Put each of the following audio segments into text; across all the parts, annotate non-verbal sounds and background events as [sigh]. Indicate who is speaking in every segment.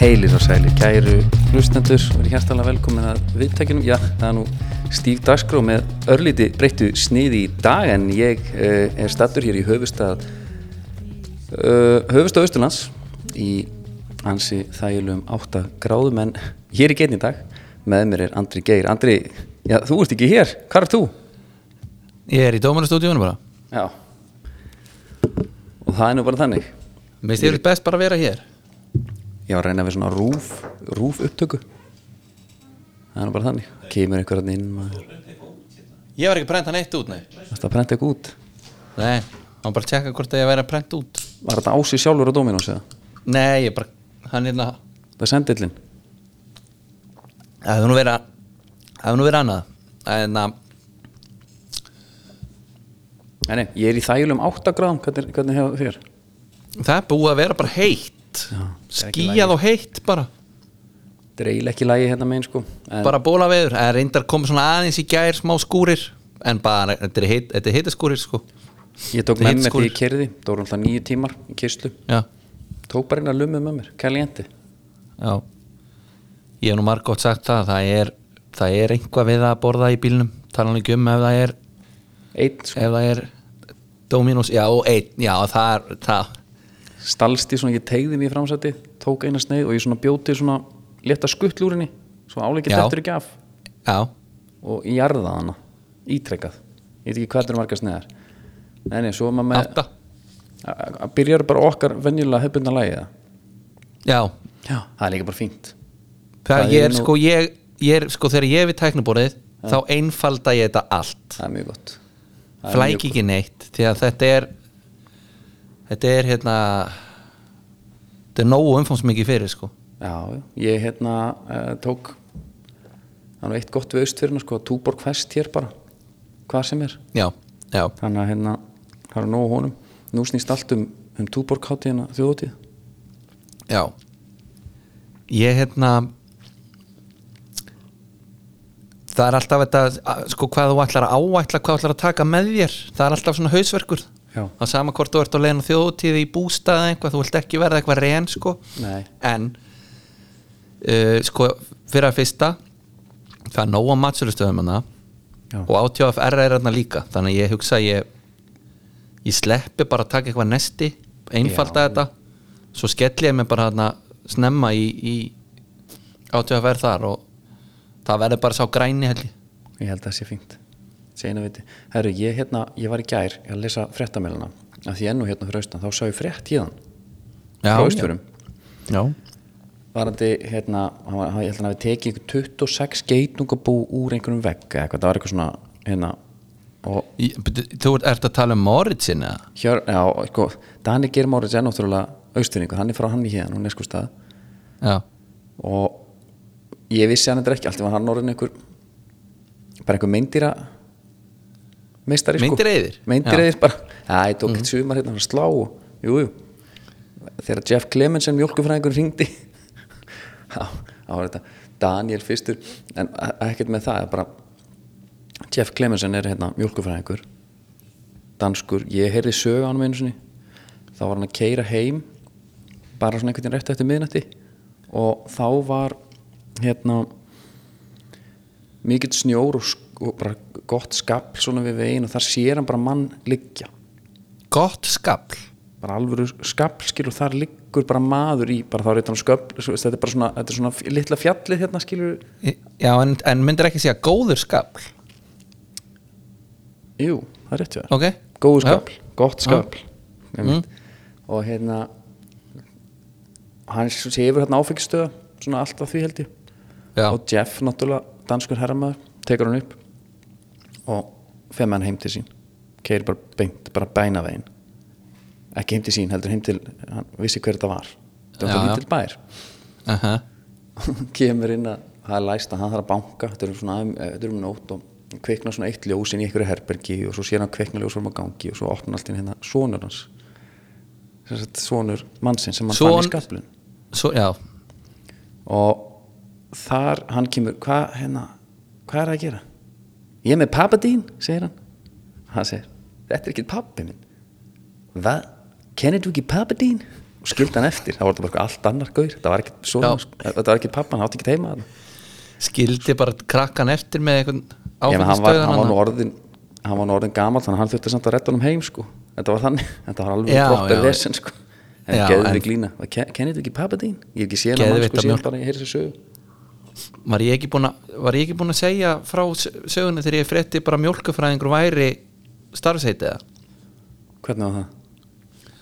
Speaker 1: Heilir og sælir, kæru hlustendur, verið hérstæðlega velkomin að viðtækjunum. Já, það er nú Stíf Dasgró með örlíti breyttu sniði í dag en ég uh, er stattur hér í höfustad, uh, höfustad Östurlands í ansi þægilegum 8 gráðum en hér í getni í dag með mér er Andri Geir. Andri, já, þú ert ekki hér, hvað er þú?
Speaker 2: Ég er í dómarastúdíunum bara
Speaker 1: Já, og það er nú bara þannig.
Speaker 2: Mér styrir best bara að vera hér
Speaker 1: Já, reyna við svona rúf, rúf upptöku Það er nú bara þannig Kemur einhver hann inn maður
Speaker 2: Ég var ekki að prenta neitt út, nei
Speaker 1: Það prenta ekki út
Speaker 2: Nei, hann bara að tjekka hvort að ég væri að prenta út
Speaker 1: Var þetta ásið sjálfur á Dominos eða?
Speaker 2: Nei, ég bara, hann hérna- er það
Speaker 1: Það er sendillin
Speaker 2: Það hefur nú verið að- það hefur nú verið annað En um, að,
Speaker 1: Nei, nei, ég er í þægulegum 8 gráðum Hvernig, hvernig hefur þér?
Speaker 2: það er búið að vera bara heitt Skíjað og heitt bara
Speaker 1: Þetta er eiginlega ekki lægi hérna megin sko en,
Speaker 2: Bara bóla veður Það er reyndar komið svona aðeins í gær smá skúrir En bara, þetta er, heit, þetta er heitaskúrir sko
Speaker 1: Ég tók
Speaker 2: Þetta er
Speaker 1: með mér því
Speaker 2: hitskúr.
Speaker 1: ég kerði Það voru alltaf nýju tímar í kyrstu
Speaker 2: Já,
Speaker 1: Tók bara inn að lumið með mér Kælienti
Speaker 2: já Ég hef nú margótt sagt það Það er, það er einhvað við að borða í bílnum Talan ekki um ef það er
Speaker 1: Einn sko
Speaker 2: ef það er Dominos, já, og einn, já, það er það,
Speaker 1: Stalst í svona Ég tegði mér framsæti Tók eina sneið Og ég svona bjóti svona Létta skuttlúrinni Svo áleikir
Speaker 2: Já.
Speaker 1: dettur ekki af
Speaker 2: já,
Speaker 1: og ég jarða hana ítrekkað, ég veit ekki hvað þetta er margar sneðar nei, nei, svo er maður með
Speaker 2: átta
Speaker 1: a- a- byrjar bara okkar venjulega hefbundna lagið
Speaker 2: já,
Speaker 1: já, það er líka bara fínt
Speaker 2: það
Speaker 1: Það
Speaker 2: ég
Speaker 1: er
Speaker 2: er
Speaker 1: nú-
Speaker 2: sko ég, ég er, sko þegar ég er við tækniborðið þá einfalda ég þetta allt
Speaker 1: það er mjög gott Það er
Speaker 2: flæk ekki neitt, því að þetta er þetta er hérna þetta er nógu umfangsmikið fyrir sko,
Speaker 1: mjög- já, já. ég hérna uh, tók það er nú eitt gott við austfyrna sko, túborg fest hér bara hvað sem er,
Speaker 2: já, já
Speaker 1: þannig að hérna það er nógu honum, nú snýst allt um, um túborg hátíðina þjóðutíð
Speaker 2: já ég hérna það er alltaf þetta sko hvað þú ætlar að áætla hvað þú ætlar að taka með þér, það er alltaf svona hausverkur
Speaker 1: já,
Speaker 2: á sama hvort þú ert á leiðin á þjóðutíð í bústaða eitthvað, þú vilt ekki verða eitthvað reyn sko.
Speaker 1: Nei.
Speaker 2: en uh, sko, fyrir að fyrsta það er nóg á matsulustöðum hana
Speaker 1: Já.
Speaker 2: og átjáfr er hérna líka þannig að ég hugsa að ég ég sleppi bara að taka eitthvað nesti einfalda þetta svo skelli ég mig bara hérna snemma í, í átjáfr þar og það verður bara sá græni helgi
Speaker 1: Ég held að það sé fínt sé einu viti. Herru, ég, hérna, ég var í gær að lesa fréttamæluna af því ennú hérna fyrir austan, þá sá ég frétt híðan frá austfjörum
Speaker 2: já,
Speaker 1: varandi, hérna, hann var, hann- ég held að hann hafi tekið einhver 26 geitnungabú úr einhverjum vegg eða eitthvað, það var eitthvað svona hérna, og
Speaker 2: Í- Þú ert ert að tala um Moritsin eða?
Speaker 1: hér, já, sko Dani Geir Mórits er náttúrulega austfjörningu hann er frá hann í hérna, hún er sko stað
Speaker 2: Já,
Speaker 1: og ég vissi hann þetta ekki, allt í var hann orðin einhver bara einhver meindýra meistari sko
Speaker 2: Meindýraeyðir?
Speaker 1: Meindýraeyðir bara, það er tók mm. sumar hérna að slá og, jú, jú þegar Jeff Clemensen mjólkufræðingur [laughs] ringdi þá þá var þetta Daniel fyrstur en e- ekkert með það, bara Jeff Clemensen er hérna mjólkufræðingur danskur, ég heyrði sögu á hann með einu sinni þá var hann að keira heim bara svona einhvern veginn rétt eftir miðnætti og þá var hérna mikill snjór og, sk- og bara gott skapl svona við veginn og þar sér hann bara mann liggja
Speaker 2: gott skafl
Speaker 1: bara alvöru skapl skilur og þar liggur bara maður í bara þá er þetta sköpl þetta er bara svona, þetta er svona f- litla fjallið hérna skilur
Speaker 2: Já, en, en myndir ekki segja góður skafl
Speaker 1: jú, það er rétt hjá þér.
Speaker 2: Ok
Speaker 1: góðu
Speaker 2: Já.
Speaker 1: sköpl, gott sköpl mm. og hérna hann séfur hérna áfengistöða svona allt að því held ég
Speaker 2: Já,
Speaker 1: og Jeff náttúrulega, danskur herramaður tekur hann upp og fer með hann heim til sín keir bara beint, bara bæna veginn ekki heim til sín, heldur heim til hann vissi hver þetta var þetta
Speaker 2: Já,
Speaker 1: var
Speaker 2: já.
Speaker 1: heim til bær [laughs]
Speaker 2: uh -huh.
Speaker 1: kemur inn að það er læst að hann þarf að banka þetta er um svona eh, þetta er um nót og kveikna svona eitt ljós inn í einhverju herbergi og svo sér hann kveikna ljós fórum á gangi og svo opna allt inn hérna sonur hans Sem sagt, sonur mannsinn sem hann
Speaker 2: Son-
Speaker 1: fann í skaplun
Speaker 2: Svo, já
Speaker 1: og þar hann kemur hvað hérna, hvað er að gera ég er með pappa þín, segir hann hann segir, þetta er ekki pappi minn hvað, kennir þú ekki pappa þín og skildi hann eftir, það var þetta bara eitthvað allt annar gaur þetta var ekki, svona,
Speaker 2: Já.
Speaker 1: sko. þetta var ekki pappan, hann átti ekki heima þarna.
Speaker 2: skildi bara krakkan eftir með einhvern
Speaker 1: Ég meina, hann var,
Speaker 2: áfengisdauðan
Speaker 1: hann var nú
Speaker 2: hann.
Speaker 1: orðin hann var nú orðin gamall, þannig að hann þurfti samt að redda hann heim sko, þetta var þannig, [laughs] þetta var alveg
Speaker 2: Já,
Speaker 1: proper
Speaker 2: já.
Speaker 1: vesen sko en
Speaker 2: Já,
Speaker 1: geðum
Speaker 2: en-
Speaker 1: við glína, kennir þú ekki pappa þín? ég hef ekki séð hann,
Speaker 2: Geðveikt
Speaker 1: sko,
Speaker 2: að
Speaker 1: síðan
Speaker 2: mjólk.
Speaker 1: bara ég heyri þessu sögu
Speaker 2: var ég ekki búin að var ég ekki búin að segja frá s- sögunni þegar ég frétti bara mjólkufræðingur væri starfsheitið það
Speaker 1: hvernig var það?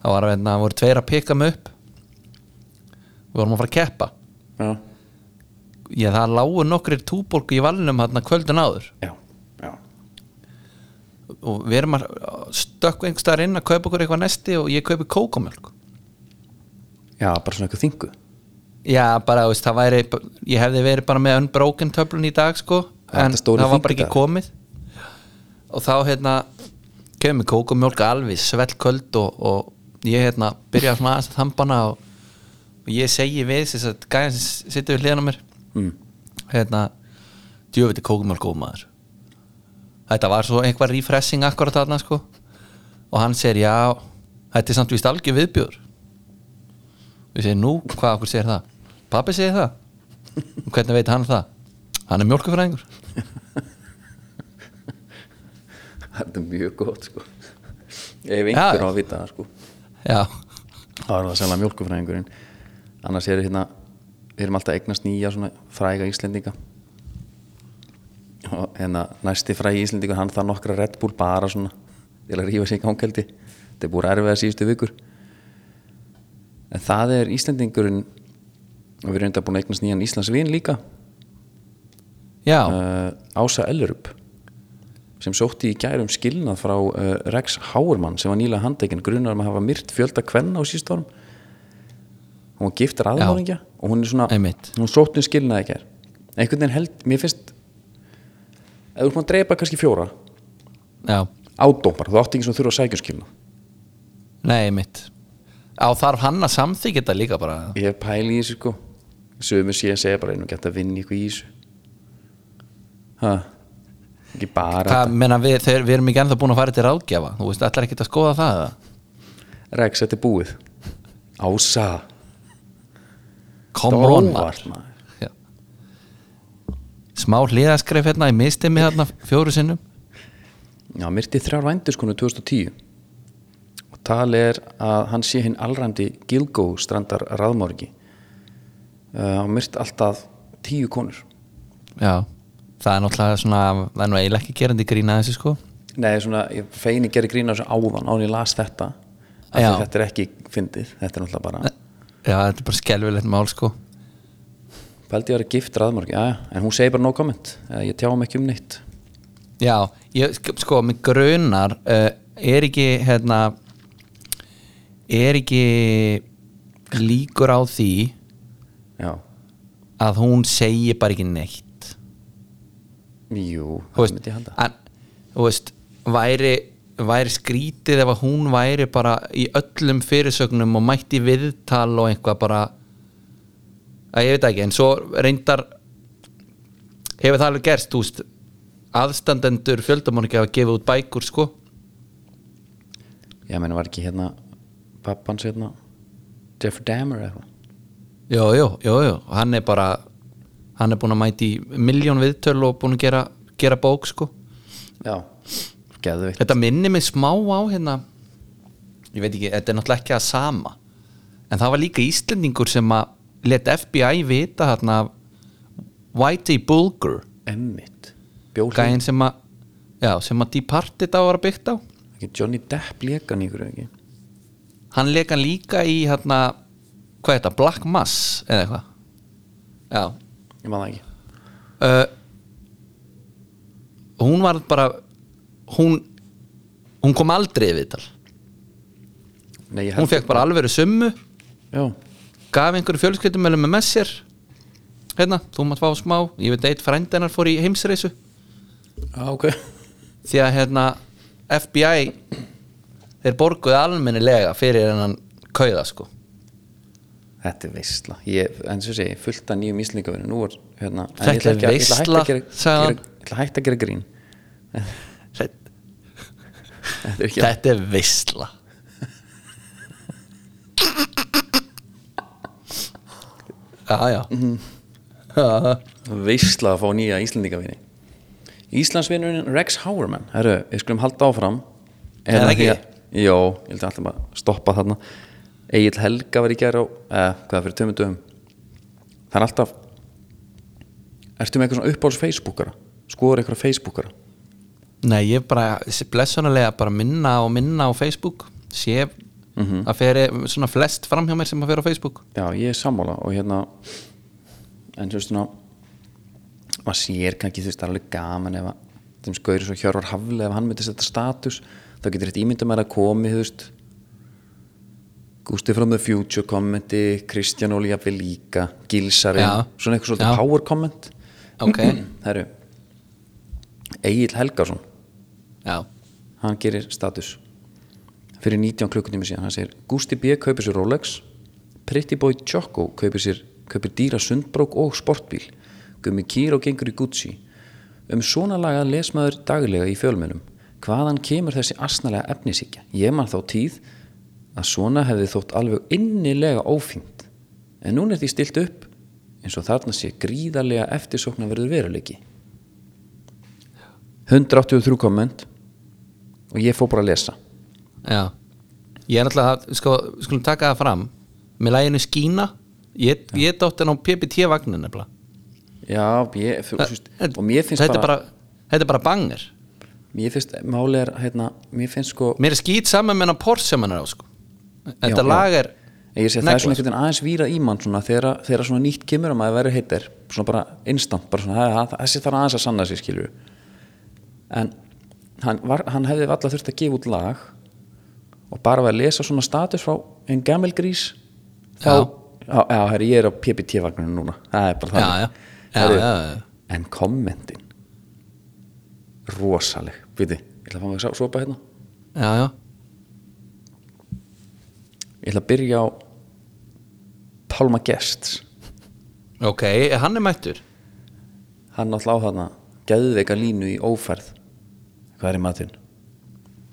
Speaker 2: það var að hérna, það voru tveir að pika mig upp við vorum að fara að keppa
Speaker 1: já,
Speaker 2: ég það lágu nokkrir túborgu í valnum hérna kvöldun áður
Speaker 1: já, já
Speaker 2: og við erum að stökku einhvers staðar inn að kaupa okkur eitthvað nesti og ég kaupi kókomjölk
Speaker 1: já, bara svona eitthvað þingu
Speaker 2: já bara þú veist það væri ég hefði verið bara með unbroken töflun í dag sko
Speaker 1: Það er
Speaker 2: en
Speaker 1: þetta stóri
Speaker 2: það var bara ekki
Speaker 1: þingdagur.
Speaker 2: komið og þá hérna kemur kókomjölk alveg svell kvöld og, og ég hérna byrja svona aðeins að þambana og, og ég segi við þess að gæðan sem sittur við hliðan á mér
Speaker 1: mm.
Speaker 2: hérna djöfiti kókumjólk góð maður þetta var svo einhver refreshing akkurat þarna sko og hann segir já þetta er samt víst algjör viðbjör við segir nú hvað okkur segir það pappi segir það og hvernig veit hann það hann er mjólkufræðingur
Speaker 1: þetta er mjög gott sko ef einhver
Speaker 2: Já.
Speaker 1: á að vita það sko
Speaker 2: já,
Speaker 1: þá er það sérlega mjölkufræðingurinn annars er hérna við erum alltaf að eignast nýja svona fræga Íslendinga og hérna næsti frægi Íslendingur hann það nokkra Red Bull bara svona til að rífa sig í gangeldi þetta er búið erfið að síðustu vikur en það er Íslendingurinn og við erum enda búin að eignast nýjan Íslands vin líka
Speaker 2: já,
Speaker 1: uh, Ása Ellerup sem sótti í gærum skilnað frá uh, Rex Háurmann sem var nýlega handtekinn grunar um að hafa myrt fjölda kvenna á sístórum hún var gift raðmóringja og hún er svona,
Speaker 2: Einmitt.
Speaker 1: hún sótti um skilnað í gær einhvern veginn held, mér finnst ef þú er búin að dreipa kannski fjóra
Speaker 2: já
Speaker 1: ádómar, þú átti ekki sem þurfa að sækja um skilnað
Speaker 2: nei mitt á þarf hann að samþykja þetta líka bara
Speaker 1: ég hef pæli í þessu sko sömu sé að segja bara einu gett að vinna ykkur í þessu ha ekki bara
Speaker 2: hvað menna við, þeir, við erum ekki ennþá búin að fara til ráðgjafa þú veist, allar ekkert að skoða það eða?
Speaker 1: Rex, þetta er búið Ása
Speaker 2: come
Speaker 1: Þetta var
Speaker 2: on
Speaker 1: óvart,
Speaker 2: maður
Speaker 1: maður.
Speaker 2: Já. smá hliðaskreif hérna ég misti mig hérna fjóru sinnum
Speaker 1: Já, myrti þrjár sko, vændiskonu 2010 og tali er að hann sé hinn allræmdi Gilgó strandar raðmorgi uh, og myrt alltaf tíu konur
Speaker 2: já, það er náttúrulega svona það er nú eiginlega ekki gerandi grína þessu sko
Speaker 1: Nei, svona, ég feini gerir grína þessu áðan án ég las þetta af
Speaker 2: Já.
Speaker 1: því þetta er ekki fyndið, þetta er náttúrulega bara
Speaker 2: já, þetta er bara skelvilegt mál sko
Speaker 1: Pældi ég að vera gift raðmorgi, já, en hún segir bara no comment, Eh, ég tjáum ekki um neitt
Speaker 2: já, ég, sk- sko, mig grunar uh, er ekki hérna er ekki líkur á því
Speaker 1: Já,
Speaker 2: að hún segi bara ekki neitt
Speaker 1: jú,
Speaker 2: þú
Speaker 1: það
Speaker 2: veist,
Speaker 1: myndi ég halda
Speaker 2: en, þú veist væri, væri skrítið ef að hún væri bara í öllum fyrirsögnum og mætti í viðtal og eitthvað bara að ég veit ekki, en svo reyndar hefur það alveg gerst þú veist, aðstandendur fjöldamorgi hafa gefið út bækur sko
Speaker 1: Ég meina var ekki hérna pappans hérna Jeff Dahmer eða eitthvað
Speaker 2: jú, jú, jú, jú, hann er bara hann er búin að mæti í miljón viðtöl og búin að gera, gera bók sko
Speaker 1: Já, geðveikt
Speaker 2: Þetta minni mig smá á hérna Ég veit ekki, þetta er náttúrulega ekki að sama En það var líka Íslendingur sem að let FBI vita þarna af Whitey Bulger
Speaker 1: Emmitt Bjóðin,
Speaker 2: Gæinn sem að Já, sem að Departed á var að byggt á
Speaker 1: ekki Johnny Depp lekan ykkur ekki
Speaker 2: Hann leik hann líka í hérna Hvað er þetta, Black Mass eða eitthvað Já,
Speaker 1: Ég maður það ekki
Speaker 2: uh, hún var bara hún hún kom aldrei við tal
Speaker 1: Nei, ég
Speaker 2: hún fekk bara alveg summu
Speaker 1: Já,
Speaker 2: gaf einhverju fjölskyldumölu með með sér hérna, þú mátt fá smá ég veit eitt frændennar fór í heimsreisu
Speaker 1: já ok [laughs]
Speaker 2: því að hérna FBI þeir borguðu almennilega fyrir hennan kauða sko
Speaker 1: Þetta er veistla ég, En svo sé ég fullt að nýjum íslendingavinu Nú er hérna en
Speaker 2: Þetta
Speaker 1: ég ætla
Speaker 2: er
Speaker 1: ekki að- ég ætla að hætta
Speaker 2: veisla,
Speaker 1: að gera-
Speaker 2: sagði
Speaker 1: gera-
Speaker 2: hann.
Speaker 1: Ég ætla að hætta að gera grín [laughs]
Speaker 2: þetta,
Speaker 1: Þetta er ekki
Speaker 2: þetta er visla já, já Já,
Speaker 1: veistla að fá nýja Íslandingavinni Íslandsvinurinn Rex Hauerman Herru, við skulum halda áfram
Speaker 2: Er það
Speaker 1: að því
Speaker 2: ekki?
Speaker 1: að- Jó, ég held að alltaf bara stoppa þarna Egil Helga var í gær á eh, hvað fyrir tömum dögum Það er alltaf Ertu með eitthvað svona uppáhalds Facebookara? Skoður eitthvað Facebookara?
Speaker 2: Nei, ég bara blessunarlega bara minna og minna á Facebook sé að feri svona flest fram hjá mér sem að fer á Facebook
Speaker 1: Já, ég er sammála og hérna en þú veist svona maður sér kannski þú veist það er alveg gaman ef að þeim skauður svo Hjörvar Hafle ef hann myndi setja status þá getur þetta ímyndum að komi þú veist Gusti from the Future kommenti Kristján Óli jafnvel líka Gilsari,
Speaker 2: Já.
Speaker 1: svona eitthvað
Speaker 2: Já.
Speaker 1: svolítið power comment
Speaker 2: Ok,
Speaker 1: Herru Egil Helgason,
Speaker 2: já
Speaker 1: hann gerir status fyrir 19 klukkutími síðan, hann segir Gusti B. kaupir sér Rolex Pretty Boy Choco kaupir sér kaupir dýra sundbrók og sportbíl Gummi Kíró gengur í Gucci um svona laga lesmaður daglega í fjölmjölum hvaðan kemur þessi asnalega efnisíkja ég man þá tíð að svona hefði þótt alveg innilega ófínt en núna er því stilt upp eins og þarna sé gríðarlega eftirsóknar verður veruleiki 183 komment og ég fór bara að lesa
Speaker 2: Já, ég er alltaf að sko, skulum taka það fram með læginu Skína ég, ég dótt henn á PPT vagnin nefnilega
Speaker 1: Já, ég, þú veist, og mér finnst bara,
Speaker 2: þetta er bara, þetta er bara banger
Speaker 1: mér finnst, máli er, hérna, mér finnst sko
Speaker 2: mér er skýt saman með henn á Porsche sem hann er á sko.
Speaker 1: Já,
Speaker 2: þetta
Speaker 1: já.
Speaker 2: lag er
Speaker 1: ég sé að það er
Speaker 2: negla,
Speaker 1: svona einhvern veginn aðeins víra í mann svona þegar, þegar svona nýtt kemur að maður verið heitir svona bara instant, bara svona það- það- þessi þarf aðeins að sanna sig skilur en hann, var, hann hefði alltaf þurft að gefa út lag og bara við að lesa svona status frá einn gamel grís þá,
Speaker 2: Já.
Speaker 1: já, já herri, ég er á PPT-vagninu núna það er bara
Speaker 2: Já,
Speaker 1: það
Speaker 2: já. Já, já, já, já.
Speaker 1: en kommentin rosaleg, veitir ég ætla að fá mig að sopa hérna
Speaker 2: já, já,
Speaker 1: Ég ætla að byrja á Pálma Gests
Speaker 2: ok, hann er mættur
Speaker 1: Hann náttúrulega á þarna Geðveika línu í ófærð Hvað er í matinn?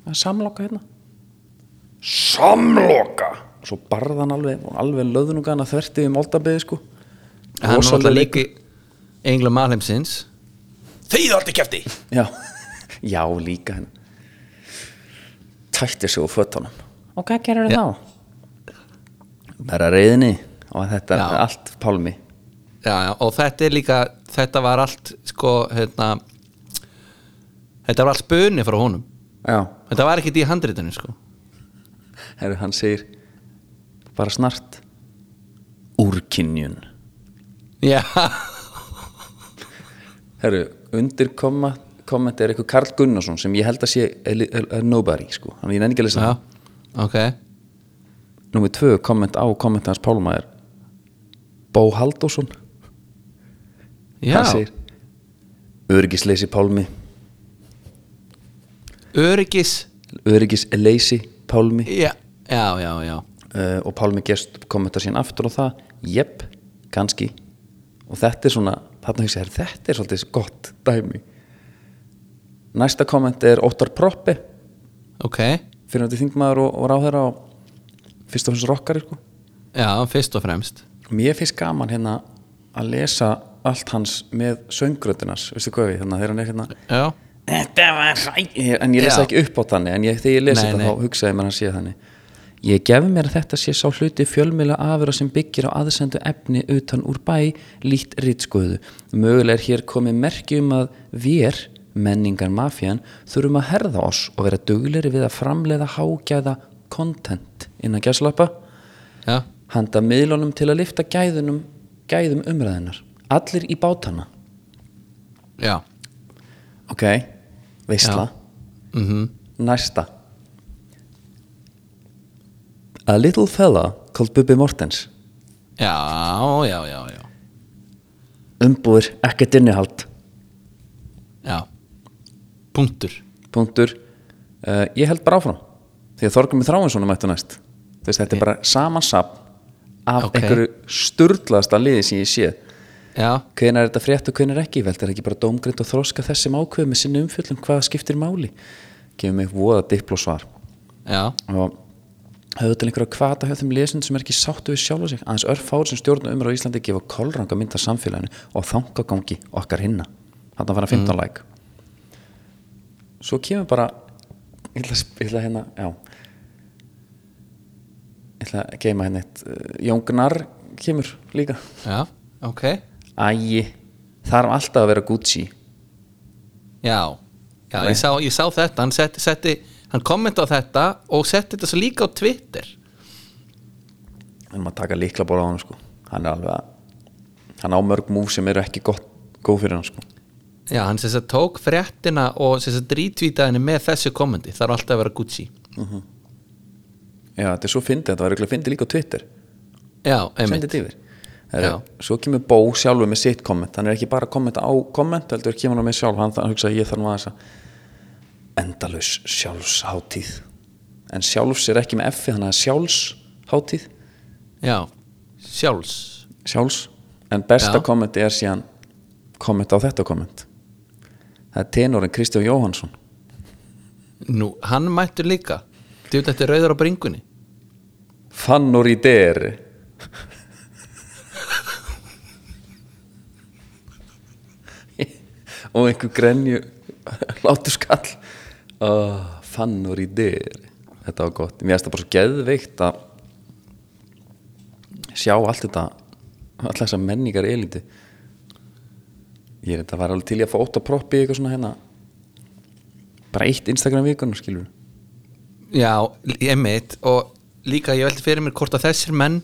Speaker 1: Það er samloka hérna Samloka Svo barða hann alveg, alveg löðnungana þvertið um oldabeði sko
Speaker 2: hann er
Speaker 1: Rosaleg
Speaker 2: alltaf
Speaker 1: leikur.
Speaker 2: líki engla malheimsins þið aldrei kæfti
Speaker 1: Já, [laughs] já líka henn Tætti sig úr fötunum Og hvað gerir
Speaker 2: Já.
Speaker 1: þá? Bara reyðinni og þetta er
Speaker 2: Já.
Speaker 1: allt Pálmi
Speaker 2: já, já, og þetta er líka þetta var allt sko, hérna, þetta var allt spöni frá honum
Speaker 1: Já,
Speaker 2: Þetta var ekkert í handritinu sko
Speaker 1: Herru, hann segir bara snart úrkynjun
Speaker 2: Já,
Speaker 1: Herru, undir komma, komment er eitthvað Karl Gunnarsson sem ég held að sé er, er, er nobody, sko, hann er ekki að lesa
Speaker 2: já.
Speaker 1: það.
Speaker 2: ok
Speaker 1: Númer tvö komment á komment hans Pálma er Bó Halldórsson
Speaker 2: Já,
Speaker 1: hann segir Öryggisleysi Pálmi
Speaker 2: öryggis
Speaker 1: Öryggisleysi Pálmi
Speaker 2: Já, já, já, já
Speaker 1: uh, og Pálmi gerst kommentar sín aftur og það, jepp, kannski og þetta er svona þarna hugsa, ég, þetta er svolítið gott dæmi næsta komment er Óttar Proppi
Speaker 2: Ok,
Speaker 1: fyrir þetta þingmaður og, og ráðherra og fyrst og fyrst rockari sko.
Speaker 2: já, fyrst og fremst
Speaker 1: mér finnst gaman hérna að lesa allt hans með söngröndunars veistu hvað við, þannig að þegar hann er hérna
Speaker 2: Já,
Speaker 1: Þetta var hræ En ég lesa
Speaker 2: Já.
Speaker 1: ekki upp á þannig En ég, þegar ég lesa
Speaker 2: Nei,
Speaker 1: þetta
Speaker 2: nei.
Speaker 1: þá hugsaði mér að hann sé þannig Ég gef mér að þetta sé sá hluti fjölmjöla afura sem byggir á aðsendu efni utan úr bæ, lítt ritskuðu. Mögulega er hér komið merki um að vér, menningar mafían, þurfum að herða oss og vera dugleri við að framleiða hágæða content innan gæslappa
Speaker 2: já,
Speaker 1: handa miðlunum til að lifta gæðunum, gæðum umræðinar. Allir í bátana.
Speaker 2: já
Speaker 1: Ok, veistla.
Speaker 2: mm
Speaker 1: Næsta A little fella called Bubbi Mortens
Speaker 2: Já, já, já, já
Speaker 1: Umbúður, ekkert innihald
Speaker 2: Já Punktur
Speaker 1: Punktur uh, Ég held bara áfram Því að Þorgum í Þráinsson er mættu næst Þú veist, Þetta er bara samansap af
Speaker 2: Ok.
Speaker 1: einhverju sturglaðasta liði sem ég sé
Speaker 2: Já,
Speaker 1: Hvenær er þetta frétt og hvenær ekki Veldur ekki bara dómgrind og þroska þessum ákveðum með sinni umfjöllum hvað skiptir máli Gefum mig voða diplosvar
Speaker 2: já,
Speaker 1: og höfðu til einhverja kvata hjá þeim lesund sem er ekki sáttu við sjálfa sig aðeins örfár sem stjórnum umra á Íslandi gefa kolranga mynd af samfélaginu og þangagangi okkar hinna þannig að fara 15 læk svo kemur bara ég ætla, að sp- ég ætla hérna já ég ætla að geima hérna eitt eh, Jón Gnar kemur líka
Speaker 2: já, ok
Speaker 1: ægi þarf alltaf að vera Gucci
Speaker 2: já, já ég, sá, ég sá þetta hann, setti, setti, hann kommenta á þetta og setti þetta svo líka á Twitter
Speaker 1: við erum að taka líkla bóla á hann sko. hann er alveg að hann á mörg múf sem eru ekki gott, góð fyrir hann sko.
Speaker 2: já, hann sem sagt tók fréttina og sem sagt rítvítaði henni með þessu kommenti þarf alltaf að vera Gucci
Speaker 1: já, þetta er svo fyndið, þetta var eiginlega fyndið líka á Twitter
Speaker 2: já,
Speaker 1: sendið
Speaker 2: einmitt,
Speaker 1: þetta yfir Heru,
Speaker 2: Já.
Speaker 1: svo kemur Bó sjálfur með sitt komment hann er ekki bara að kommenta á komment heldur kemur hann með sjálf, hann þannig hugsa að ég þarf nú aðeins að endalaus sjálfshátíð en sjálfs er ekki með F þannig að sjálfshátíð
Speaker 2: já sjálfs,
Speaker 1: sjálfs, en besta
Speaker 2: Já.
Speaker 1: kommenti er síðan komment á þetta komment það er tenorinn Kristján Jóhansson
Speaker 2: nú, hann mættur líka djúpt eftir rauður á bringunni
Speaker 1: Fannur í deri og einhver grenju látur skall oh, Fannur í deri þetta var gott, mér finnst það bara svo geðveikt að sjá allt þetta alltaf þessa menningar eliti ég er þetta var alveg til í að fá ótt að proppi eitthvað svona hérna bara eitt Instagram vikunum skilur
Speaker 2: Já, einmitt og líka ég veldi fyrir mér hvort að þessir menn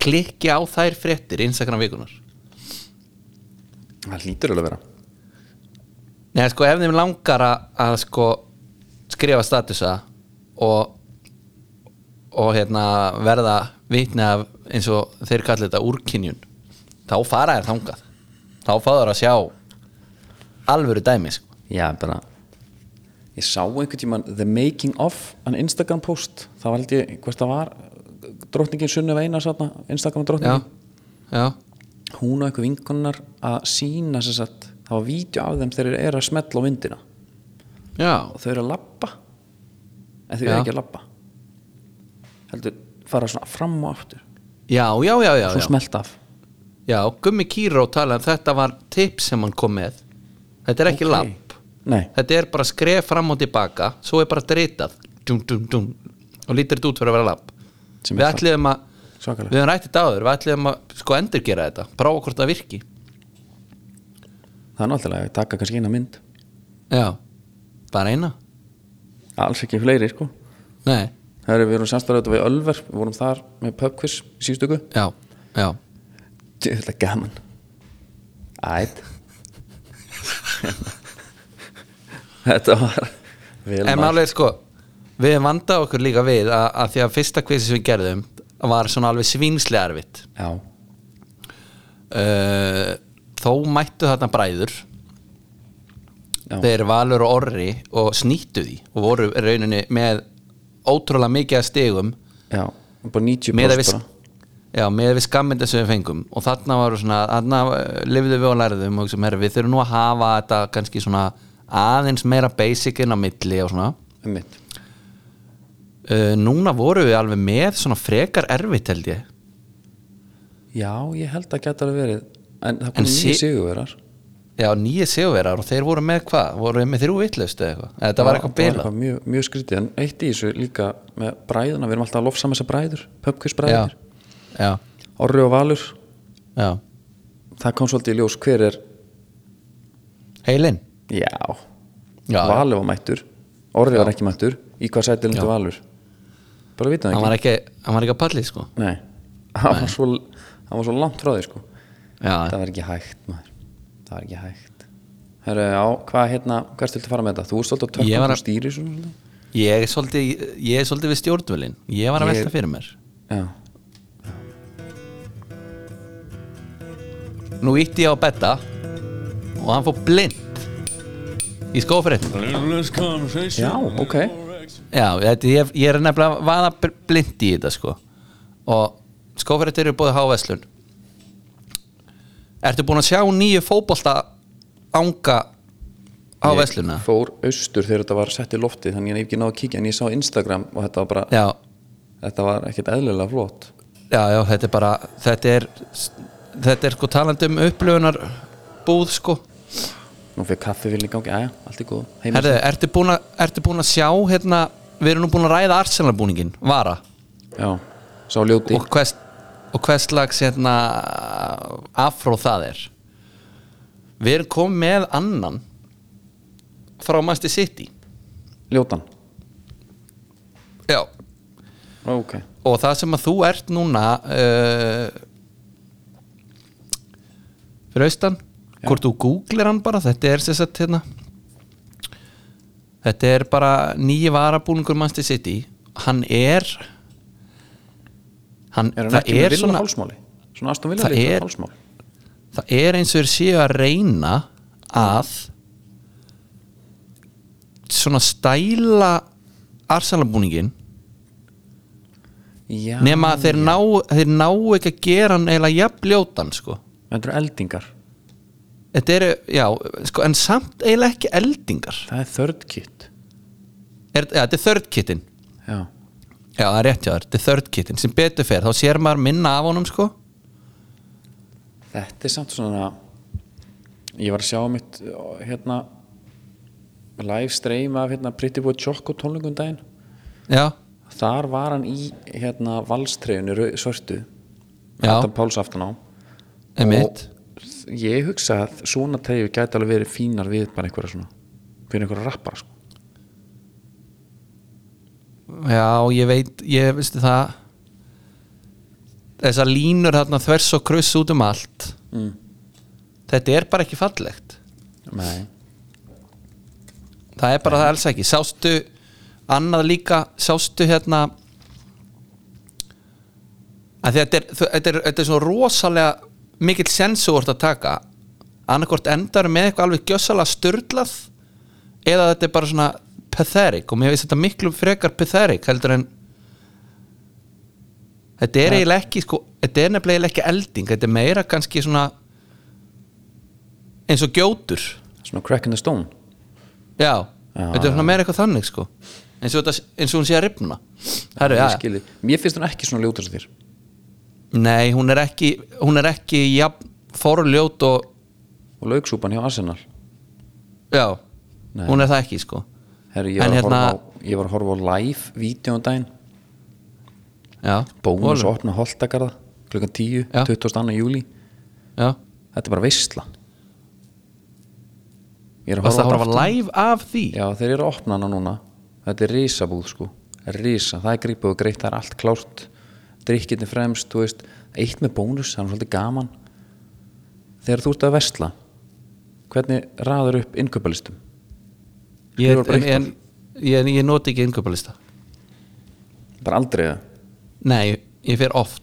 Speaker 2: klikki á þær fréttir Instagram vikunar
Speaker 1: það hlýtur alveg að vera
Speaker 2: Nei, sko, ef þeim langar að, að sko, skrifa statusa og og hérna verða vitni af eins og þeir kalli þetta úrkynjun þá fara þér þangað þá fá þér að sjá alvöru dæmi sko.
Speaker 1: Já, bara Ég sá einhvern tímann The Making of an Instagram post Það var held ég, hvert það var Drottningin Sunnöf Einar satna Instagram
Speaker 2: Já,
Speaker 1: drottningin
Speaker 2: já,
Speaker 1: Hún og einhver vinkonnar að sína sér satt Það var vídeo af þeim þegar þeir eru að smetla á vindina
Speaker 2: já
Speaker 1: Og þau eru að labba En þau
Speaker 2: Já.
Speaker 1: eru ekki að labba Heldur, fara svona fram og aftur
Speaker 2: Já, já, já, já,
Speaker 1: Svo
Speaker 2: já.
Speaker 1: smelt af
Speaker 2: Já, Gummi Kíró talaði um þetta var tips sem hann kom með Þetta er ekki
Speaker 1: Ok.
Speaker 2: okay. lapp
Speaker 1: Nei,
Speaker 2: Þetta er bara skref fram og tilbaka Svo er bara dritað dum, dum, dum, og lítur þetta út fyrir að vera lapp
Speaker 1: Sem
Speaker 2: Við
Speaker 1: er
Speaker 2: ætliðum að
Speaker 1: svakalega
Speaker 2: Við höfum rætt þetta áður, við ætliðum að sko endurgera þetta Prófa hvort það virki
Speaker 1: Það er náttúrulega að taka kannski eina mynd
Speaker 2: Já, bara eina
Speaker 1: Alls ekki fleiri, sko
Speaker 2: Nei,
Speaker 1: Það eru við erum samstæðið við Ölver Við vorum þar með pubquiz í síðustöku
Speaker 2: já, já
Speaker 1: Þetta er gaman Ætt Þetta var vel
Speaker 2: En
Speaker 1: mælt.
Speaker 2: málega sko, við vanda okkur líka við að, að því að fyrsta kvisi sem við gerðum var svona alveg svínslega erfitt
Speaker 1: Já,
Speaker 2: uh, Þó mættu þarna bræður
Speaker 1: já,
Speaker 2: þeir valur og orri og snýttu því og voru í rauninni með ótrúlega mikið að stigum
Speaker 1: já Bara 90
Speaker 2: með að við,
Speaker 1: bara
Speaker 2: já, með að við skammynda sem við fengum og þarna varu svona, þarna eh, lifðu við og lærðum og sem, herri, við þurfum nú að hafa þetta kannski svona aðeins meira basic inn á milli og svona
Speaker 1: Einmitt.
Speaker 2: uh, núna voru við alveg með svona frekar erfitt held ég
Speaker 1: Já, ég held að geta alveg verið En það
Speaker 2: En
Speaker 1: komið nýju
Speaker 2: sí-
Speaker 1: sigurverar
Speaker 2: já, nýja sigurverar og þeir voru með hvað voru við með þrjú vitlaust eða eitthvað Eða þetta var eitthvað bilað
Speaker 1: mjög, mjög skrítið En eitt í þessu líka með bræðuna Við erum alltaf að lofsa með þessa bræður Pöpkvist
Speaker 2: já,
Speaker 1: bræður
Speaker 2: já,
Speaker 1: Orri og Valur
Speaker 2: já
Speaker 1: Það kom svolítið í ljós hver er
Speaker 2: heilinn
Speaker 1: Já,
Speaker 2: Já, já.
Speaker 1: Valur var mættur Orri var ekki mættur Í hvað sætti lindu Valur Bara við það ekki
Speaker 2: hann var ekki, hann var ekki að palli sko
Speaker 1: Nei, hann var svo, hann var svo langt frá því sko
Speaker 2: já,
Speaker 1: Það var ekki hægt maður Það var ekki hægt Herru, á, hvað hérna, hvert viltu fara með þetta? Þú ert svolítið að
Speaker 2: Ég
Speaker 1: tökum að...
Speaker 2: var að-
Speaker 1: stýri svo svolítið?
Speaker 2: Ég er svolítið, ég er svolítið við stjórnvölin Ég var að
Speaker 1: Ég-
Speaker 2: velta fyrir mér
Speaker 1: Já,
Speaker 2: Nú ítti ég á betta Og hann fór blind Í skófréttum
Speaker 1: já, ok
Speaker 2: Já, þetta, ég, ég er nefnilega að vaða bl- blind í þetta sko Og skófréttir eru búið háveslun Ertu búin að sjá nýju fótbolta Anga Hávesluna?
Speaker 1: Ég fór austur þegar þetta var sett í lofti Þannig að ég hef ekki náðu að kíkja En ég sá Instagram og þetta var bara
Speaker 2: Já,
Speaker 1: þetta var ekkert eðlilega flott
Speaker 2: já, já, þetta er bara þetta er, þetta er sko talandi um upplöfunar búð sko
Speaker 1: nú fyrir kaffi vilja í gangi, aðja, allt er góð Heimir-
Speaker 2: Herðu, ertu búin, að, ertu búin að sjá hérna, við erum nú búin að ræða Arsenal búningin, Vara
Speaker 1: já, sá ljóti
Speaker 2: og hvers, og hvers lags hérna, afró það er Við erum komið með annan frá Master City
Speaker 1: ljótan,
Speaker 2: Já,
Speaker 1: ok
Speaker 2: og það sem að þú ert núna uh, fyrir austan hvort þú googlir hann bara þetta er sem sagt hérna þetta er bara nýji varabúningur Manchester City hann er hann,
Speaker 1: er hann
Speaker 2: það
Speaker 1: ekki með
Speaker 2: er
Speaker 1: vilja svona...
Speaker 2: svona
Speaker 1: hálsmáli svona Aston Villa
Speaker 2: Það
Speaker 1: lítur
Speaker 2: er-
Speaker 1: hálsmáli
Speaker 2: það er eins og þeir séu að reyna að svona stæla arsalabúningin
Speaker 1: já,
Speaker 2: nema að þeir ná, þeir ná ekki að gera hann eiginlega jafnljótan sko
Speaker 1: þetta eru eldingar
Speaker 2: Þetta eru, já, sko, en samt eiginlega ekki eldingar
Speaker 1: það er third kit
Speaker 2: er, ja, Þetta er third kitin
Speaker 1: já,
Speaker 2: Já, það er rétt hjá þér, þetta er third kitin sem betur fer, þá sér maður minna af honum sko
Speaker 1: þetta er samt svona ég var að sjá mitt hérna live stream af hérna Pretty Boy Choco tónlingum daginn
Speaker 2: Já,
Speaker 1: þar var hann í hérna valstreyjunni rau- svörtu
Speaker 2: Já.
Speaker 1: þetta Páls aftan á
Speaker 2: emitt
Speaker 1: og ég hugsa að svona treyju gæti alveg verið fínar við bara einhverja svona fyrir einhverja rappara sko
Speaker 2: Já, ég veit, ég veistu það Þessar línur þarna þvers og kruss út um allt
Speaker 1: mm.
Speaker 2: Þetta er bara ekki fallegt
Speaker 1: nei,
Speaker 2: Það er bara það alls ekki Sástu annað líka Sástu hérna að þetta er, þú- þetta, er, þetta er svo rosalega mikill sensúrt að taka annarkvort endar með eitthvað alveg gjössalega styrlað eða þetta er bara svona pathetic og mér finnst þetta miklu frekar pathetic heldur en þetta er eiginlega ekki sko, þetta er nefnilega eiginlega ekki elding þetta er meira kannski svona eins og gjótur
Speaker 1: svona crack in the stone
Speaker 2: Já,
Speaker 1: Já,
Speaker 2: þetta er svona meira eitthvað þannig sko eins og, þetta, eins og hún sé að ripna Herru,
Speaker 1: Ég
Speaker 2: já,
Speaker 1: skil þig. mér finnst hún ekki svona ljótast þér
Speaker 2: nei, hún er ekki hún er ekki jafn forljót og,
Speaker 1: og lauksúpan hjá Arsenal
Speaker 2: já,
Speaker 1: Nei.
Speaker 2: hún er það ekki sko
Speaker 1: Herru, ég, var
Speaker 2: En
Speaker 1: að
Speaker 2: hérna-
Speaker 1: horfa á, ég var að horfa á live vídeo um daginn
Speaker 2: Já,
Speaker 1: bónus
Speaker 2: Volum.
Speaker 1: og opna holtakarða klukkan 10,
Speaker 2: Já.
Speaker 1: 22. júli
Speaker 2: Já,
Speaker 1: þetta er bara veistla ég er að
Speaker 2: varst
Speaker 1: horfa á
Speaker 2: það að horfa
Speaker 1: draftinn.
Speaker 2: live af því?
Speaker 1: já þeir eru að opna hana núna þetta er risabúð sko risa, það er grípuð og greitt, það er allt klárt drikkirni fremst, þú veist eitt með bónus, það er nú svolítið gaman þegar þú ert að vestla hvernig raður upp innkaupalistum
Speaker 2: ég,
Speaker 1: Þau voru
Speaker 2: en,
Speaker 1: breyttar.
Speaker 2: en, ég, en ég noti ekki innkaupalista
Speaker 1: bara aldrei það
Speaker 2: Nei, ég fer oft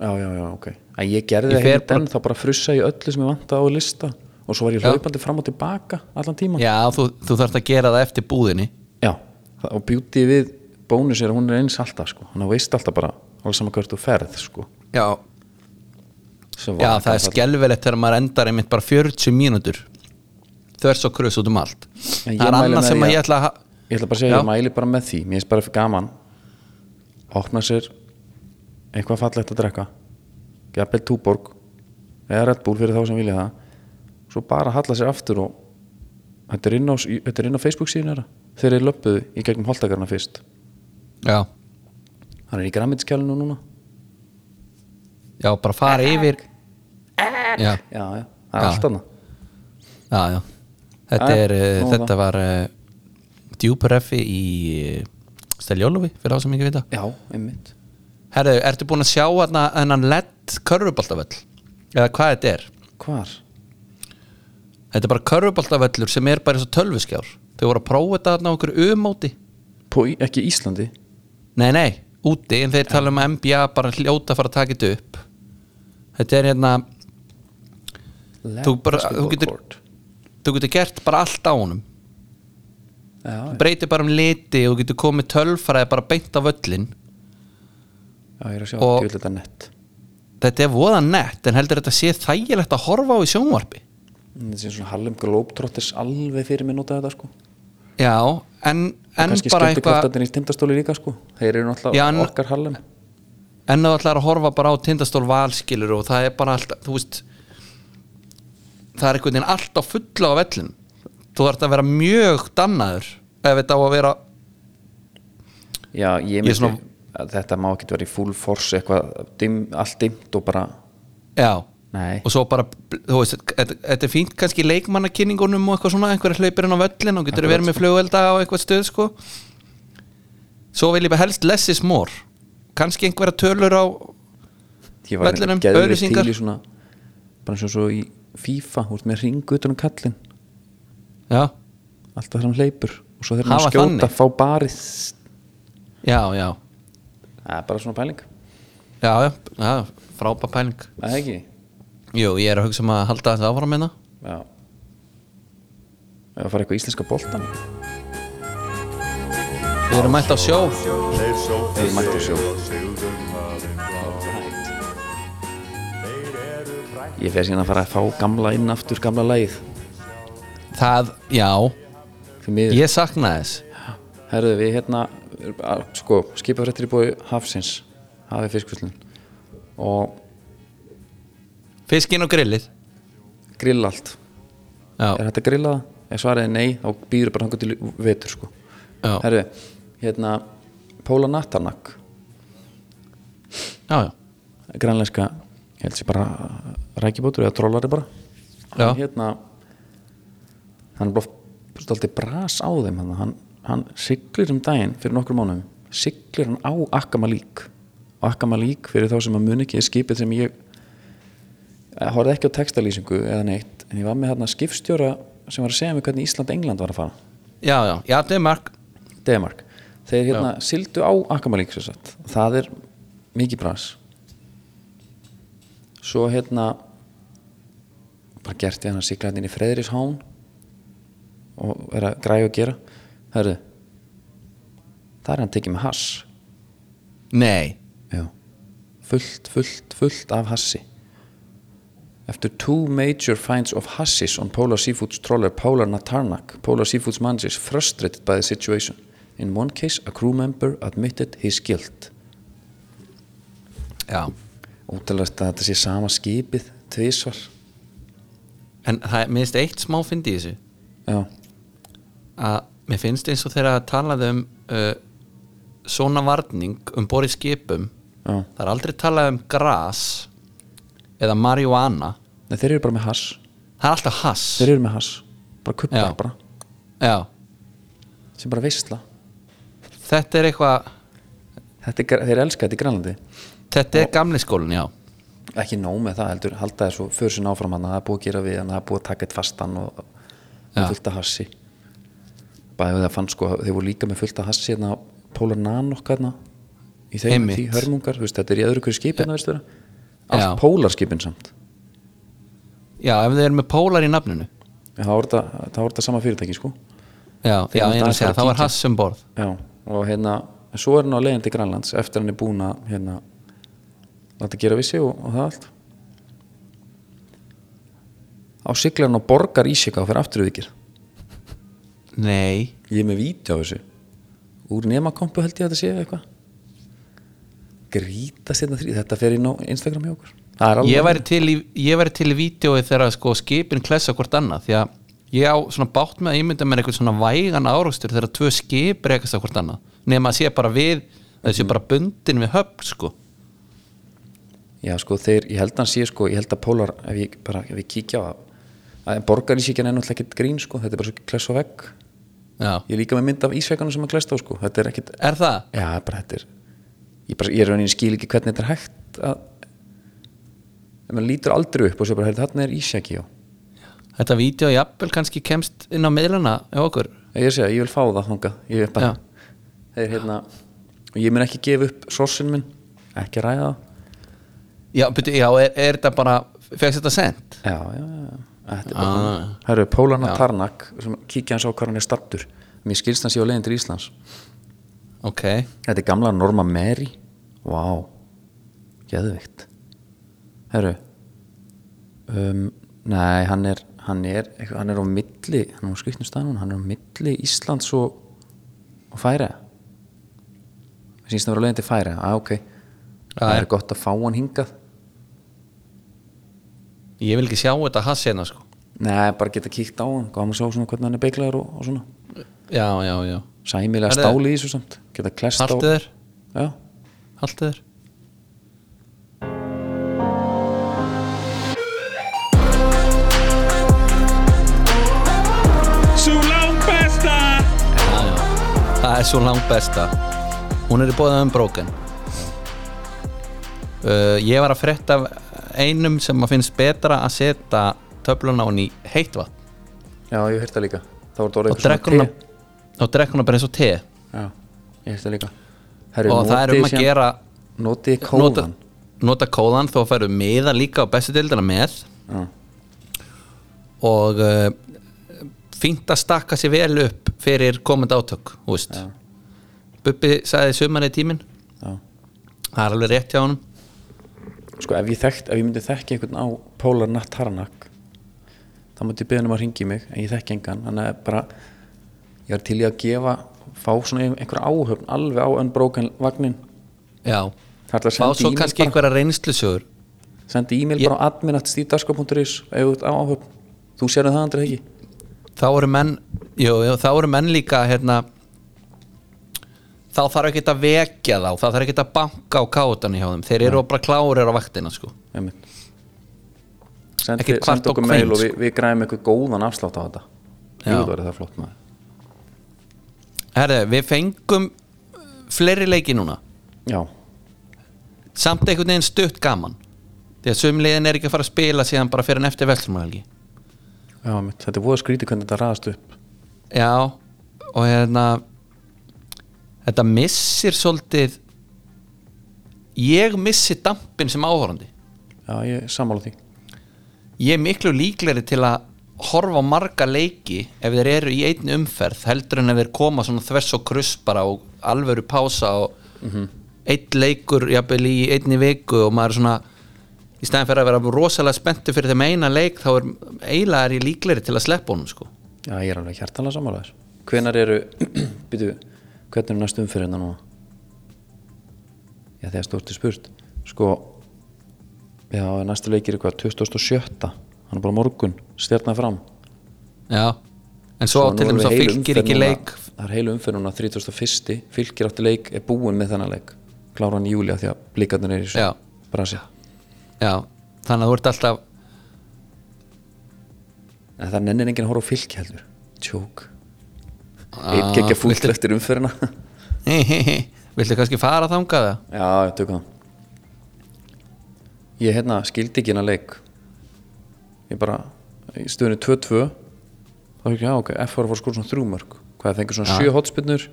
Speaker 1: já, já, já, ok að ég gerði
Speaker 2: Ég
Speaker 1: það
Speaker 2: fer
Speaker 1: hérna den, þá bara frussa ég öllu sem ég vanta á lista og svo var ég
Speaker 2: Já.
Speaker 1: hlaupandi fram og tilbaka allan tíman
Speaker 2: Já, þú, þú þarft að gera það eftir búðinni
Speaker 1: Já, það- og beauty við bónus er að hún er eins alltaf sko hann veist alltaf bara alveg saman hvert þú ferð sko
Speaker 2: Já,
Speaker 1: Sem
Speaker 2: Já,
Speaker 1: var-
Speaker 2: það er skelfilegt þegar maður endar einmitt bara 40 mínútur þvers og krus út um allt
Speaker 1: En ég
Speaker 2: Það er
Speaker 1: mæli
Speaker 2: annað
Speaker 1: með
Speaker 2: sem
Speaker 1: því
Speaker 2: að ég
Speaker 1: að-
Speaker 2: ætla að ha-
Speaker 1: Ég ætla bara að segja,
Speaker 2: Já.
Speaker 1: ég mæli bara með því Mér finnst bara fyrir gaman Opna sér eitthvað fallegt að drekka Gjapel túborg eða Red Bull fyrir þá sem vilja það Svo bara halla sér aftur og Þetta er inn á, þetta er inn á Facebook síðan þeirra Þeir eru löppuðu í gegnum holtakarna fyrst
Speaker 2: Já,
Speaker 1: Hann er í græmitskjálinu núna
Speaker 2: já, bara fara yfir Já,
Speaker 1: Já, já, það er
Speaker 2: Já.
Speaker 1: allt annað
Speaker 2: já, já Þetta,
Speaker 1: Jæja,
Speaker 2: er,
Speaker 1: nóg
Speaker 2: eh,
Speaker 1: um
Speaker 2: þetta var uh, djúpareffi í Steljólufi fyrir þá sem ekki vita
Speaker 1: Já, einmitt
Speaker 2: Herðu, ertu búin að sjá hérna hennan lett körfuboltavöll eða hvað þetta er?
Speaker 1: Hvar?
Speaker 2: Þetta er bara körfuboltavöllur sem er bara eins og tölvuskjár Þau voru að prófa þetta hérna á okkur umóti
Speaker 1: På, í- ekki Íslandi?
Speaker 2: Nei, nei, úti en þeir tala um að NBA bara hljóta að fara að taka þetta upp Þetta er hérna Þú bara- þú getur-
Speaker 1: Court.
Speaker 2: þú getur gert bara allt á honum
Speaker 1: Já,
Speaker 2: Þú breytir bara um liti og þú getur komið tölfræði bara beint á völlin
Speaker 1: já, ég er að sjá
Speaker 2: Og-
Speaker 1: djúvill þetta nett
Speaker 2: Þetta er voða nett en heldur þetta sé þægilegt að horfa á í sjónvarpi
Speaker 1: Þetta sé svona Harlem Globetrotters alveg fyrir mér notað þetta sko
Speaker 2: já, en, en
Speaker 1: kannski
Speaker 2: bara
Speaker 1: skemmti
Speaker 2: eitthvað
Speaker 1: kraftarnir í tindastóli líka sko þeir eru náttúrulega
Speaker 2: Já, en-
Speaker 1: okkar hallum
Speaker 2: en ef þú ætlar að horfa bara á tindastól valskilur og það er bara alltaf, þú veist það er einhvern veginn alltaf fulla á vellin þú þarf að vera mjög dannaður ef þetta á að vera
Speaker 1: já ég
Speaker 2: Ég
Speaker 1: myndi
Speaker 2: er svona-
Speaker 1: að þetta má ekki vera í full force eitthvað dim, allt dimt og bara
Speaker 2: já,
Speaker 1: nei
Speaker 2: og svo bara, þú veist, þetta þetta er fínt kannski í leikmannakynningunum og eitthvað svona einhverja hlaupirinn á völlin og getur
Speaker 1: Akkurat,
Speaker 2: verið með flugvelda á eitthvað stöð, sko svo vil ég bara helst less is more kannski einhverja tölur á
Speaker 1: ég var
Speaker 2: vellinum,
Speaker 1: hérna geðveikt
Speaker 2: auglýsingar.
Speaker 1: til í svona bara eins og svo í FIFA hú veist með ringu utan um kallinn
Speaker 2: já,
Speaker 1: alltaf þegar hann hleypur og svo þegar hann
Speaker 2: Hafa
Speaker 1: skjóta
Speaker 2: þannig?
Speaker 1: fá barið
Speaker 2: já, já
Speaker 1: það er bara svona pæling
Speaker 2: já, já, já frábær pæling
Speaker 1: það er ekki
Speaker 2: jú, ég er að hugsa um að halda þetta áfram meina
Speaker 1: já ef að fara eitthvað í íslenska boltan
Speaker 2: við erum mætt á sjó
Speaker 1: Þeir mættu sjó Ég fer síðan að fara að fá gamla inn aftur gamla lagið
Speaker 2: það, já,
Speaker 1: Því miður,
Speaker 2: ég sakna þess
Speaker 1: herðu við hérna að, sko, skipafrættir í bóði Hafsins Hafið fiskvíslun og
Speaker 2: fiskin og grillið
Speaker 1: grill allt
Speaker 2: já,
Speaker 1: Er þetta grillað? Ef svaraði nei, þá býður bara hangur til vetur sko
Speaker 2: já, já,
Speaker 1: Herðu, hérna Póla Natanak
Speaker 2: já,
Speaker 1: grænlenska, ég held sér bara rækibótur eða trollari bara
Speaker 2: Já.
Speaker 1: hann hérna hann er bara stoltið bras á þeim hann, hann, hann siglir um daginn fyrir nokkrum mánuðum, siglir hann á Akamalík og Akamalík fyrir þá sem að muni ekki er skipið sem ég eh, horfði ekki á textalýsingu eða neitt, en ég var með hérna skipstjóra sem var að segja mér hvernig Ísland-England var að fara
Speaker 2: já, já, já, það er mark
Speaker 1: Demark, þeir hérna sildu á Akamalík sem sagt, það er mikið bras svo hérna bara gert ég hann að sigla hérna inn í Freðrishán og er að græja og gera herðu það er hann tekið með hass
Speaker 2: nei,
Speaker 1: Já. fullt, fullt, fullt af hassi After two major finds of hassis on Polar Seafoods trawler Polar Natarnak, Polar Seafoods manager is frustrated by the situation. In one case, a crew member admitted his guilt.
Speaker 2: já
Speaker 1: Ótalast að þetta sé sama skipið, tvisvar.
Speaker 2: En það, mér finnst eitt smá fyndi í þessu
Speaker 1: Já,
Speaker 2: að mér finnst eins og þegar að talaði um uh, svona varning um borið skipum
Speaker 1: já.
Speaker 2: það er aldrei talað um gras eða marihuana
Speaker 1: Nei, þeir eru bara með hass.
Speaker 2: það er alltaf hass
Speaker 1: Þeir eru með hass. Bara
Speaker 2: Já.
Speaker 1: kuppar bara.
Speaker 2: Já,
Speaker 1: Sem bara veistla.
Speaker 2: þetta er eitthvað
Speaker 1: Þetta er, gr- þeir elska þetta í Grænlandi.
Speaker 2: þetta er gamli skólin, já
Speaker 1: Ekki nóg með það heldur, halda þessu fyrir sinna áfram hann, það er búið að gera við hann, það er búið að taka eitt fastan og
Speaker 2: Já.
Speaker 1: ja. fullt af hassi bæðið það fann sko, þeir voru líka með fullt af hassi hérna, Pólar Nanok hérna í þeim
Speaker 2: Einmitt.
Speaker 1: tí hörmungar, þú veist, þetta er í öðru hverju skipin ja. allt
Speaker 2: Já.
Speaker 1: pólarskipin samt
Speaker 2: Já, ef þið eru með pólar í nafninu
Speaker 1: En það voru þetta- það voru þetta sama fyrirtæki sko
Speaker 2: Já,
Speaker 1: Þeir eru
Speaker 2: já, ég er
Speaker 1: aðeins
Speaker 2: að segja,
Speaker 1: að
Speaker 2: þá
Speaker 1: kíkja.
Speaker 2: er hass um borð
Speaker 1: Já, og hérna en svo er hann á leiðin til Grænlands eftir hann er búin að hérna, láta gera vissi og, og það allt á siglar hann og borgar Ísika og fyrir afturvíkir
Speaker 2: Nei,
Speaker 1: ég er með vídeo á þessu úr nemakompu held ég að þetta sé eitthvað grítast hérna þrý þetta fer inn á Instagram hjá okkur það er
Speaker 2: ég
Speaker 1: alveg
Speaker 2: væri til í, ég væri til í vídjói þegar sko skipin klessa hvort annað því að ég á svona bátt með að ímynda mér eitthvað svona vægan áraugstur þegar tvö skip rekast á hvort annað nema að sé bara við þessi mm. bara bundin við höfn sko
Speaker 1: já sko þeir, ég held að hann sé sko ég held að Pólar, ef ég bara, ef ég kíkja á það að borgarísíkjan er náttúrulega ekkert grín sko þetta er bara svo kless á vegg
Speaker 2: já.
Speaker 1: ég er líka með mynd af ísveikanu sem að kless á sko þetta er ekkert,
Speaker 2: er það?
Speaker 1: já bara þetta er ég, bara, ég er rauninni skil ekki hvernig þetta er hægt að ef maður lítur aldrei upp og svo bara, heyrðu, þarna er ísjaki á
Speaker 2: þetta vídjói jafnvel kannski kemst inn á miðlana hjá okkur
Speaker 1: ég sé að ég vil fá það þangað ég er bara,
Speaker 2: Já.
Speaker 1: þeir hérna og ég mun ekki gefa upp sorsin minn ekki ræða það
Speaker 2: já, byrju, já er, er þetta bara fegst þetta sent?
Speaker 1: já, já, já, þetta er bara
Speaker 2: Ah.
Speaker 1: það eru Pólana Tarnak sem kíkja hans á hvað hann er stattur mér skilst hans ég á leiðin til Íslands
Speaker 2: ok,
Speaker 1: þetta er gamla Norma Mary vá, wow. geðvikt herru um, nei, hann er hann er, eitthvað- hann er á milli hann er á skrifnum staðnum, hann er á milli Íslands og, og færa það sínst að vera lögin til færa ah, ok, það
Speaker 2: Já.
Speaker 1: er gott að fá hann hingað
Speaker 2: Ég vil ekki sjá þetta hassena sko
Speaker 1: Nei, bara geta kíkt á hann, gaman að sjá svona hvernig hann er beiglaður og, og svona
Speaker 2: Já, já, já
Speaker 1: sæmilega
Speaker 2: Herðu.
Speaker 1: stáli í þessu samt geta klest á
Speaker 2: Haltu þér,
Speaker 1: Já,
Speaker 2: haltu þér
Speaker 3: Sú langt besta
Speaker 2: Já, já. Það er svo langt besta Hún er í bóða um brókin uh, Ég var að frétta af einum sem að finnst betra að setja töflun á hann í heitt vatn
Speaker 1: já, ég hef hérta líka þá er þetta orðið
Speaker 2: og drekkur hún og drekkur hún bara eins og te
Speaker 1: Já, ég hef hérta líka Herru,
Speaker 2: og það er
Speaker 1: notið
Speaker 2: um að
Speaker 1: síðan-
Speaker 2: gera
Speaker 1: Notið kóðan
Speaker 2: nota, nota kóðan þó að færu meða líka á bestu deildina með
Speaker 1: Já,
Speaker 2: og uh, fínt að stakka sér vel upp fyrir komandi átök þú veist. Bubbi sagði sumari tíminn
Speaker 1: já
Speaker 2: það er alveg rétt hjá honum
Speaker 1: Sko, ef ég, þekkt, ef ég myndi þekki einhvern á Pólar Natt Harnak þá myndi ég beða hann um að ringi mig en ég þekki engan, þannig að bara ég var til í að gefa, fá svona einhver áhöfn alveg á unbroken vagnin
Speaker 2: Já,
Speaker 1: Það ætla að
Speaker 2: fá
Speaker 1: senda
Speaker 2: svo
Speaker 1: í mig
Speaker 2: kannski
Speaker 1: bara.
Speaker 2: einhverja reynslusögur
Speaker 1: sendi e-mail
Speaker 2: Ég-
Speaker 1: bara á admin.stífdarsko.is ef þú ert á áhöfn, þú sérðu það andri ekki
Speaker 2: Þá eru menn, jú, jú, þá eru menn líka hérna þá þarf ekki að vekja þá þá þarf ekki að banka á kátan hjá þeim þeir eru bara klárir á vaktina sko
Speaker 1: Einmitt.
Speaker 2: Ekki
Speaker 1: sendi,
Speaker 2: kvart
Speaker 1: sendi
Speaker 2: og
Speaker 1: okkur
Speaker 2: hvein,
Speaker 1: mail og
Speaker 2: sko.
Speaker 1: við, við græðum eitthvað góðan afslátt á þetta
Speaker 2: Já.
Speaker 1: jú, það er það flott maður
Speaker 2: Herðu, við fengum uh, fleiri leiki núna
Speaker 1: já,
Speaker 2: samt einhvern veginn stutt gaman því að sumliðin er ekki að fara að spila síðan bara fyrir en eftir veltrumælgi
Speaker 1: já mitt. þetta er voða skrítið hvernig þetta raðast upp
Speaker 2: Já, og hérna þetta missir svolítið ég missi dampin sem áhorandi
Speaker 1: já, ég er sammála því
Speaker 2: ég er miklu líklegri til að horfa á marga leiki ef þeir eru í einn umferð heldur en ef þeir koma svona þvers og kruss bara og alvöru pása og Mhm. einn leikur jafnvel í einni viku og maður er svona í stæðan fyrir að vera rosalega spenntu fyrir þeim eina leik þá er eiginlega er ég líklegri til að sleppa honum sko
Speaker 1: já, ég er alveg hjartalega sammála þessu hvenar eru, [clears throat] byrju hvernig er næstu umfyrirna núna já, þegar stórti spurt sko já, næstu leikir eitthvað 2007 hann er bara á morgun, stjarnar fram
Speaker 2: já, en svo,
Speaker 1: nú
Speaker 2: til
Speaker 1: erum
Speaker 2: dæmis
Speaker 1: við
Speaker 2: að
Speaker 1: heil
Speaker 2: fylgir
Speaker 1: umferð
Speaker 2: ekki
Speaker 1: núna-
Speaker 2: leik
Speaker 1: Það er heilu umferð núna 31. Fylgir átti leik er búin með þennan leik Klára hann í júli af því að blikarnir er í
Speaker 2: Já.
Speaker 1: svo Brasi
Speaker 2: já, þannig að þú ert alltaf
Speaker 1: En það nennir enginn að horfa á fylgi heldur Tjók
Speaker 2: Ah,
Speaker 1: Eitt gekkja fúll eftir umferðina
Speaker 2: viltu [laughs] kannski fara þangað það?
Speaker 1: Já, ég tökum það Ég hérna skildi ekki hennar leik Ég bara í stöðunni 2-2 þá ekki, já ok, F var að fór skóra svona þrjúmörk hvað það fengur svona sjö hotspinnur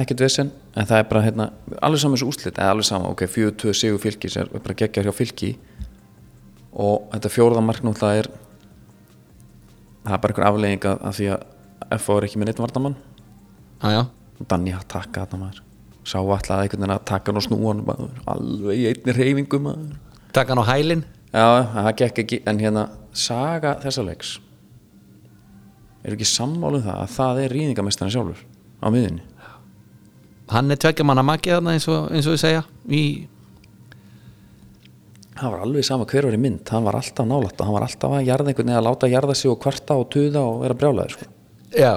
Speaker 1: ekkert vesen en það er bara hérna, alveg saman þessu úslit eða alveg saman, ok, 4-2 sigur fylki sem er bara geggjað hjá fylki og þetta fjóraða mark náttúrulega er það er bara einhver aflegging af af því að F var ekki með neitt vardamann
Speaker 2: já, já
Speaker 1: Danni að taka þarna maður sá alltaf einhvern veginn að taka hann og snúa hann maður alveg í einni reyfingu maður
Speaker 2: taka hann á hælinn
Speaker 1: já, það gekk ekki en hérna, saga þessa leiks er ekki sammálum það að það er rýðingamestarinn sjálfur á miðinni
Speaker 2: hann er tveggja manna maki þarna eins og, eins og við segja í,
Speaker 1: það var alveg sama hver var í mynd hann var alltaf nálætt og hann var alltaf að jarða einhvern eða láta jarða sig og kvarta og tuða og vera brjálaður sko.
Speaker 2: já,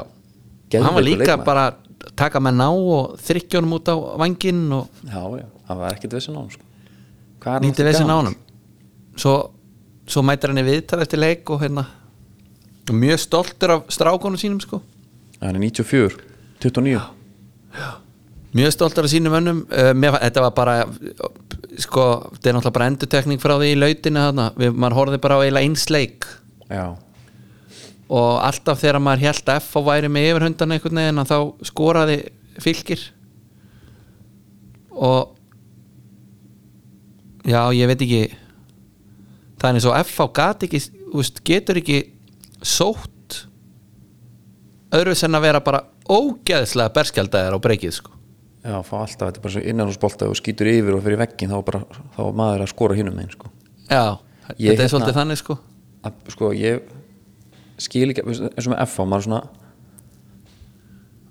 Speaker 1: Geðveikur
Speaker 2: hann var líka
Speaker 1: leikmaður.
Speaker 2: bara að taka með ná og þrykkja honum út á vanginn og
Speaker 1: já, já, það var ekkert vesen á hann sko. Hvað er hann
Speaker 2: nýtti
Speaker 1: aftur
Speaker 2: þessi
Speaker 1: gamall?
Speaker 2: nánum svo, svo mætir hann í viðtal eftir leik og hérna og mjög stoltur af strákunum sínum sko
Speaker 1: hann er 94, 29
Speaker 2: mjög stoltur af sínum önnum uh, mér, fa- þetta var bara sko, þetta er náttúrulega bara endutekning frá því í lautinu þarna, Við, maður horfði bara á eiginlega eins leik
Speaker 1: já,
Speaker 2: og alltaf þegar maður held að F á væri með yfirhundan einhvern veginn að þá skoraði fylgir og já, ég veit ekki það er eins og F á gat ekki úst, getur ekki sótt öðru sem að vera bara ógeðslega berskjaldæðar á breykið sko
Speaker 1: já, fá alltaf þetta er bara svo innanhúsbolta og skýtur yfir og fyrir veggin þá, er bara, þá er maður að skora hinum einn sko.
Speaker 2: já,
Speaker 1: Ég
Speaker 2: þetta
Speaker 1: hérna-
Speaker 2: er svolítið þannig sko
Speaker 1: að, sko, ég skil ekki, veist, eins og með FH maður svona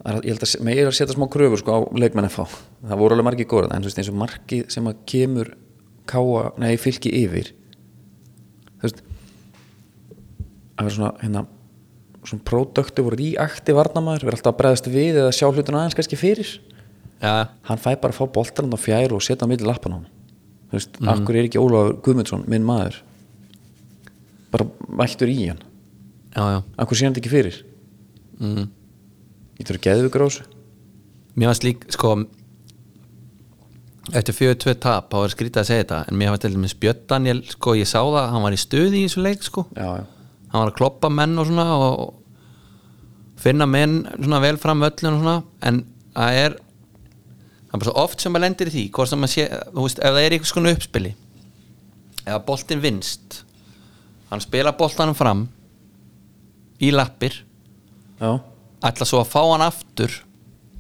Speaker 1: það er- ég held að se- maður er að setja smá kröfur sko, á leikmenn FH, það voru alveg margir góra en þú veist, eins og margið sem að kemur káa, nei, fylki yfir þú veist að vera svona hérna svona pródöktu voru ríakti varnamaður vera alltaf að bregðast við eða sjá hlutuna aðeins kannski fyrir
Speaker 2: já,
Speaker 1: hann fæ bara að fá boltan á fjær og setja á milli lappan á hann þú veist, akkur er ekki Ólafur Guðmundsson minn maður bara mættur í hann
Speaker 2: já, já.
Speaker 1: akkur sé hann þetta ekki fyrir
Speaker 2: Mm.
Speaker 1: ég þurf að geðu ykkur á þessu
Speaker 2: mér varst lík sko eftir 42 tap þá er skrítið að segja þetta en mér var til dæmis Björn Daniel sko ég sá það, hann var í stuði í þessu leik sko
Speaker 1: já, já,
Speaker 2: hann var að kloppa menn og svona og og finna menn svona vel fram völlin og svona en það er það er bara svo oft sem maður lendir í því hvort sem maður sé, þú veist, ef það er einhvers konar uppspili eða boltinn vinst hann spila boltanum fram í lappir
Speaker 1: já,
Speaker 2: ætla svo að fá hann aftur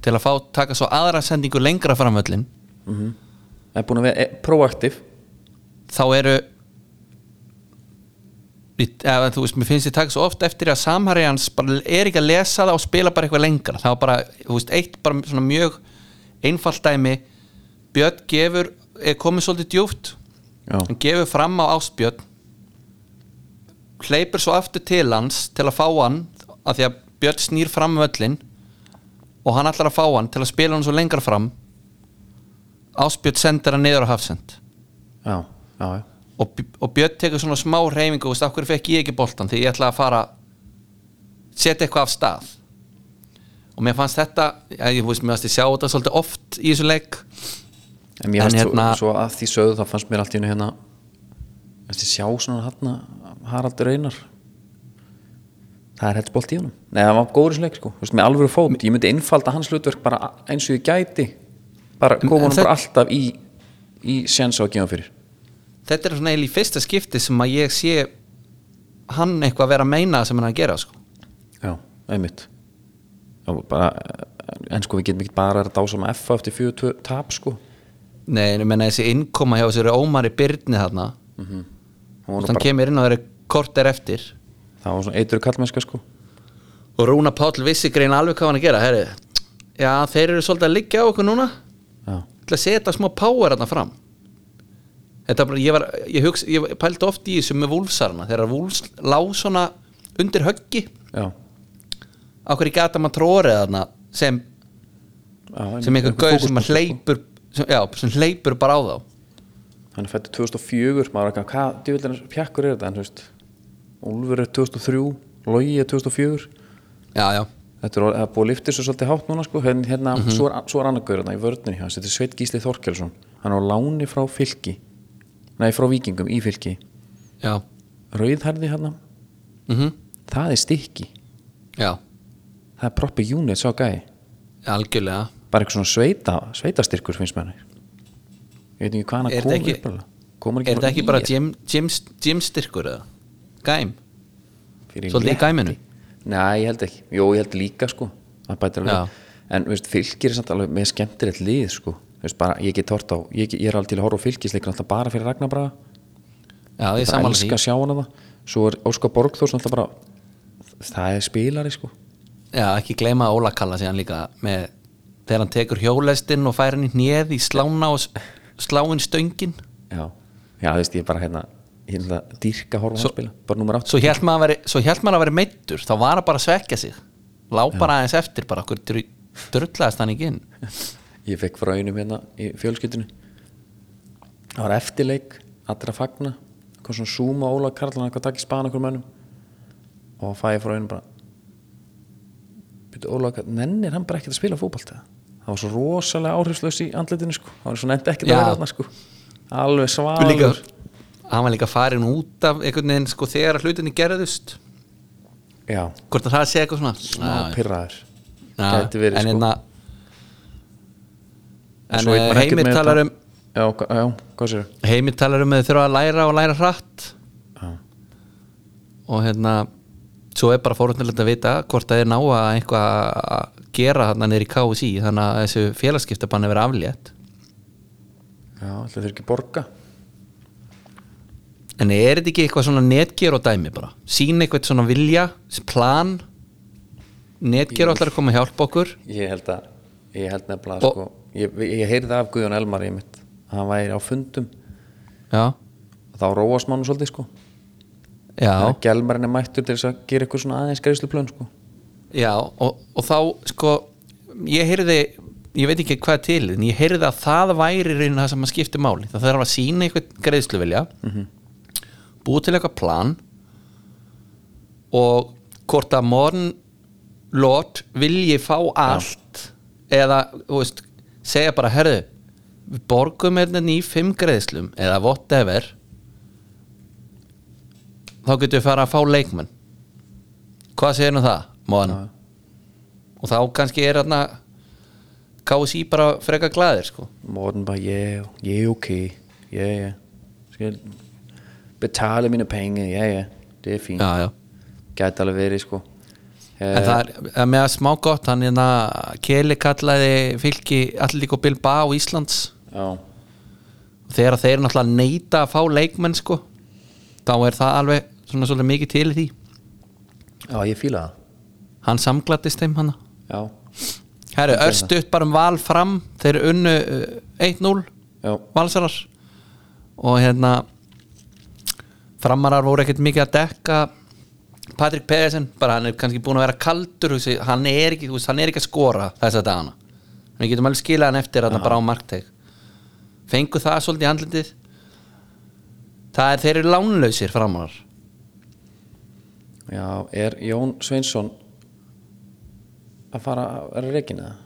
Speaker 2: til að fá, taka svo aðra sendingu lengra framvöllin
Speaker 1: er búin að vera e, proaktiv
Speaker 2: þá eru Í- eða, þú veist, mér finnst ég taka svo oft eftir að samhæri hans bara er ekki að lesa það og spila bara eitthvað lengra það var bara, þú veist, eitt bara svona mjög einfalt dæmi Björn gefur, er komið svolítið djúft
Speaker 1: já,
Speaker 2: hann gefur fram á Ástbjörn hleypur svo aftur til hans til að fá hann af því að Björn snýr fram völlin og hann ætlar að fá hann til að spila hann svo lengra fram Ástbjörn sendir hann niður á hafsend
Speaker 1: já, já, já.
Speaker 2: og, B- og Björn tekur svona smá reyfingu og veist, af hverju fekk ég ekki boltan því ég ætla að fara setja eitthvað af stað og mér fannst þetta ég, ég, þú veist, mér fannst ég sjá þetta svolítið oft í þessu leik
Speaker 1: en mér
Speaker 2: En
Speaker 1: fannst
Speaker 2: hérna-
Speaker 1: svo, svo að því sögðu þá fannst mér allt í hennu hérna fannst ég sjá svona hérna Haraldur Einar það er hetsbolt í honum nei, það var góður sleik sko, þú veist, með alvöru fót ég myndi einfalda hans hlutverk bara a- eins og ég gæti bara
Speaker 2: En-
Speaker 1: koma
Speaker 2: en
Speaker 1: hann bara
Speaker 2: þetta-
Speaker 1: alltaf í í séns á að gefa hann fyrir
Speaker 2: þetta er svona eiginlega í fyrsta skipti sem að ég sé hann eitthvað vera að meina það sem hann er að gera sko.
Speaker 1: já, einmitt já, bara, en sko við getum ekki bara að dása með F eftir 42 tap sko
Speaker 2: nei, en ég menna þessi innkoma hjá þessu Ómari Byrni þarna
Speaker 1: það var,
Speaker 2: hann
Speaker 1: bara,
Speaker 2: kemur inn á þeirri korter eftir
Speaker 1: það var svona eitur kallmennska sko
Speaker 2: og Rúna Páll vissi grein alveg hvað hann er að gera herri, já, þeir eru svolítið að liggja á okkur núna
Speaker 1: já,
Speaker 2: til að setja smá power þarna fram þetta er bara, ég var ég, hugsa, ég pældi oft í þessu með vúlfsarna þegar vúls lá svona undir höggi
Speaker 1: já,
Speaker 2: á hverju gata maður trórið þarna sem
Speaker 1: já einmitt,
Speaker 2: sem einhver sko. gauð sem
Speaker 1: fókus-
Speaker 2: að hleypur sem, já, sem hleypur bara á þá
Speaker 1: hann er fættur 2004 maður er ekki að hvað djúvillinir pjakkur er þetta en þú veist Úlfur er 2003 Logi er 2004
Speaker 2: já, já,
Speaker 1: þetta er orðið- það er búið að lifta svo svolítið hátt núna sko hérna, hérna
Speaker 2: Mhm.
Speaker 1: svo er, svo er annar gaur hérna í vörninni hans þetta er Sveit Gísli Þorkelsson hann er á láni frá fylki nei frá vikingum í fylki
Speaker 2: já
Speaker 1: rauðherði hérna
Speaker 2: mm
Speaker 1: það er stikki
Speaker 2: já,
Speaker 1: það er proper unit sá gæi
Speaker 2: algjörlega
Speaker 1: bara eitthvað svona sveita sveitastyrkur finnst mér hann ég veit ekki hvað hann
Speaker 2: Er þetta
Speaker 1: kom
Speaker 2: ekki-
Speaker 1: uppalega kom hann ekki
Speaker 2: er þetta
Speaker 1: frá
Speaker 2: ekki
Speaker 1: IR?
Speaker 2: bara gym, gym, gymstyrkur eða? gæm,
Speaker 1: Fyrir
Speaker 2: Svolítið í
Speaker 1: létti.
Speaker 2: gæminu?
Speaker 1: Nei, ég held ekki, jú, ég held líka sko það bætir
Speaker 2: Já.
Speaker 1: alveg en veist, fylgir er samt alveg með skemmtilegt lið sko veist, bara, ég get hort á, ég, get- ég er alveg til að horfa á fylgisleikur alltaf bara fyrir Ragnar Braga
Speaker 2: já, ég
Speaker 1: það
Speaker 2: samanlega
Speaker 1: elska
Speaker 2: því
Speaker 1: að sjá hana það svo er Óskar Borgþórs alltaf bara það er spilari sko
Speaker 2: já, ekki gleyma að Óla kalla sig hann líka með, þegar hann tekur hjólestinn og fær hann í hnið í slána og s- sláin stöngin
Speaker 1: já, já þú veist, ég bara hérna ég held að dýrka að horfa á hann
Speaker 2: Svo-
Speaker 1: spila bara nummer 8
Speaker 2: svo held maður að veri, svo hélt maður að veri meittur þá var hann bara að svekja sig lá bara aðeins eftir, bara okkur drullaðist hann ekki inn
Speaker 1: ég fekk frá einum hérna í fjölskyldinu það var eftirleik allra fagna kom svona súma Óla Karlan eitthvað takk í spana okkur mönnum og fæ ég frá einum bara byrju Óla Karlan nennir hann bara ekkert að spila fótbalta það var svo rosalega áhrifslaus í andlitinu sko það var svo nefndi ekkert
Speaker 2: Já.
Speaker 1: að vera þarna sko alveg
Speaker 2: Og líka,
Speaker 1: svalur
Speaker 2: hann var líka farin út af einhvern veginn sko þegar hlutinni gerðust
Speaker 1: já,
Speaker 2: hvort að það sé eitthvað svona
Speaker 1: smá
Speaker 2: Já,
Speaker 1: pyrraður
Speaker 2: já,
Speaker 1: gæti verið,
Speaker 2: en
Speaker 1: sko.
Speaker 2: einna en
Speaker 1: svo veit
Speaker 2: eh,
Speaker 1: maður ekkert
Speaker 2: heimir
Speaker 1: með
Speaker 2: talar
Speaker 1: þetta.
Speaker 2: um
Speaker 1: já, hva- já, hvað sér
Speaker 2: heimir talar um að þau þurfa að læra og læra hratt
Speaker 1: já,
Speaker 2: og hérna svo er bara fórhundilegt að vita hvort það er ná að eitthvað að gera þarna niður í KSI þannig að þessu félagskiptabann er verið aflétt
Speaker 1: já ætli þeir ekki borga
Speaker 2: en er þetta ekki eitthvað svona netger og dæmi bara sína eitthvað svona vilja, plan netger ætlar að koma að hjálpa okkur
Speaker 1: ég held að ég held nefnilega
Speaker 2: Og-
Speaker 1: sko ég, ég heyrði af Guðjón Elmar í mitt hann væri á fundum
Speaker 2: já,
Speaker 1: og þá róast mann svolítið sko
Speaker 2: já,
Speaker 1: Gjelmarinn er mættur til þess að gera eitthvað svona aðeins greiðsluplön sko
Speaker 2: já og, og þá sko ég heyrði, ég veit ekki hvað til en ég heyrði að það væri reyna það sem að skipti máli, það þarf að sína eitthvað greiðsluvilja búið til eitthvað plan og hvort að morgun lót vilji fá allt eða, þú veist, segja bara herðu, við borgum hérna í fimm greiðslum eða whatever þá getum við fara að fá leikmenn hvað segir nú það, morgun og þá kannski er hérna KSI bara freka glæðir sko
Speaker 1: Morten bara, yeah, yeah, okay, yeah, yeah. Skal betale mine penge, ja, ja, det er fint. Ja.
Speaker 2: já, já
Speaker 1: Gæti alveg verið, sko.
Speaker 2: En það er, er með að smá gott hann hérna, Keli kallaði fylki allir líka Bilbao Íslands
Speaker 1: Eh, Já,
Speaker 2: þegar þeir náttúrulega neyta að fá leikmenn sko þá er það alveg svona svolítið mikið til í því
Speaker 1: já, ég fíla það.
Speaker 2: hann samglattist þeim hann
Speaker 1: Já,
Speaker 2: Herru, örstuðt bara um val fram þeir unnu uh, 1-0
Speaker 1: já,
Speaker 2: valsarar og hérna framarar voru ekkert mikið að dekka Patrik Pedersen, bara hann er kannski búin að vera kaldur hugsi, hann, er ekki, þú veist, hann er ekki að skora þessa dagana en við getum alveg skilað hann eftir hann bara á markteg fengu það svolítið í handlitið það er þeir eru lánlausir framarar
Speaker 1: já, er Jón Sveinsson að fara að rekina það?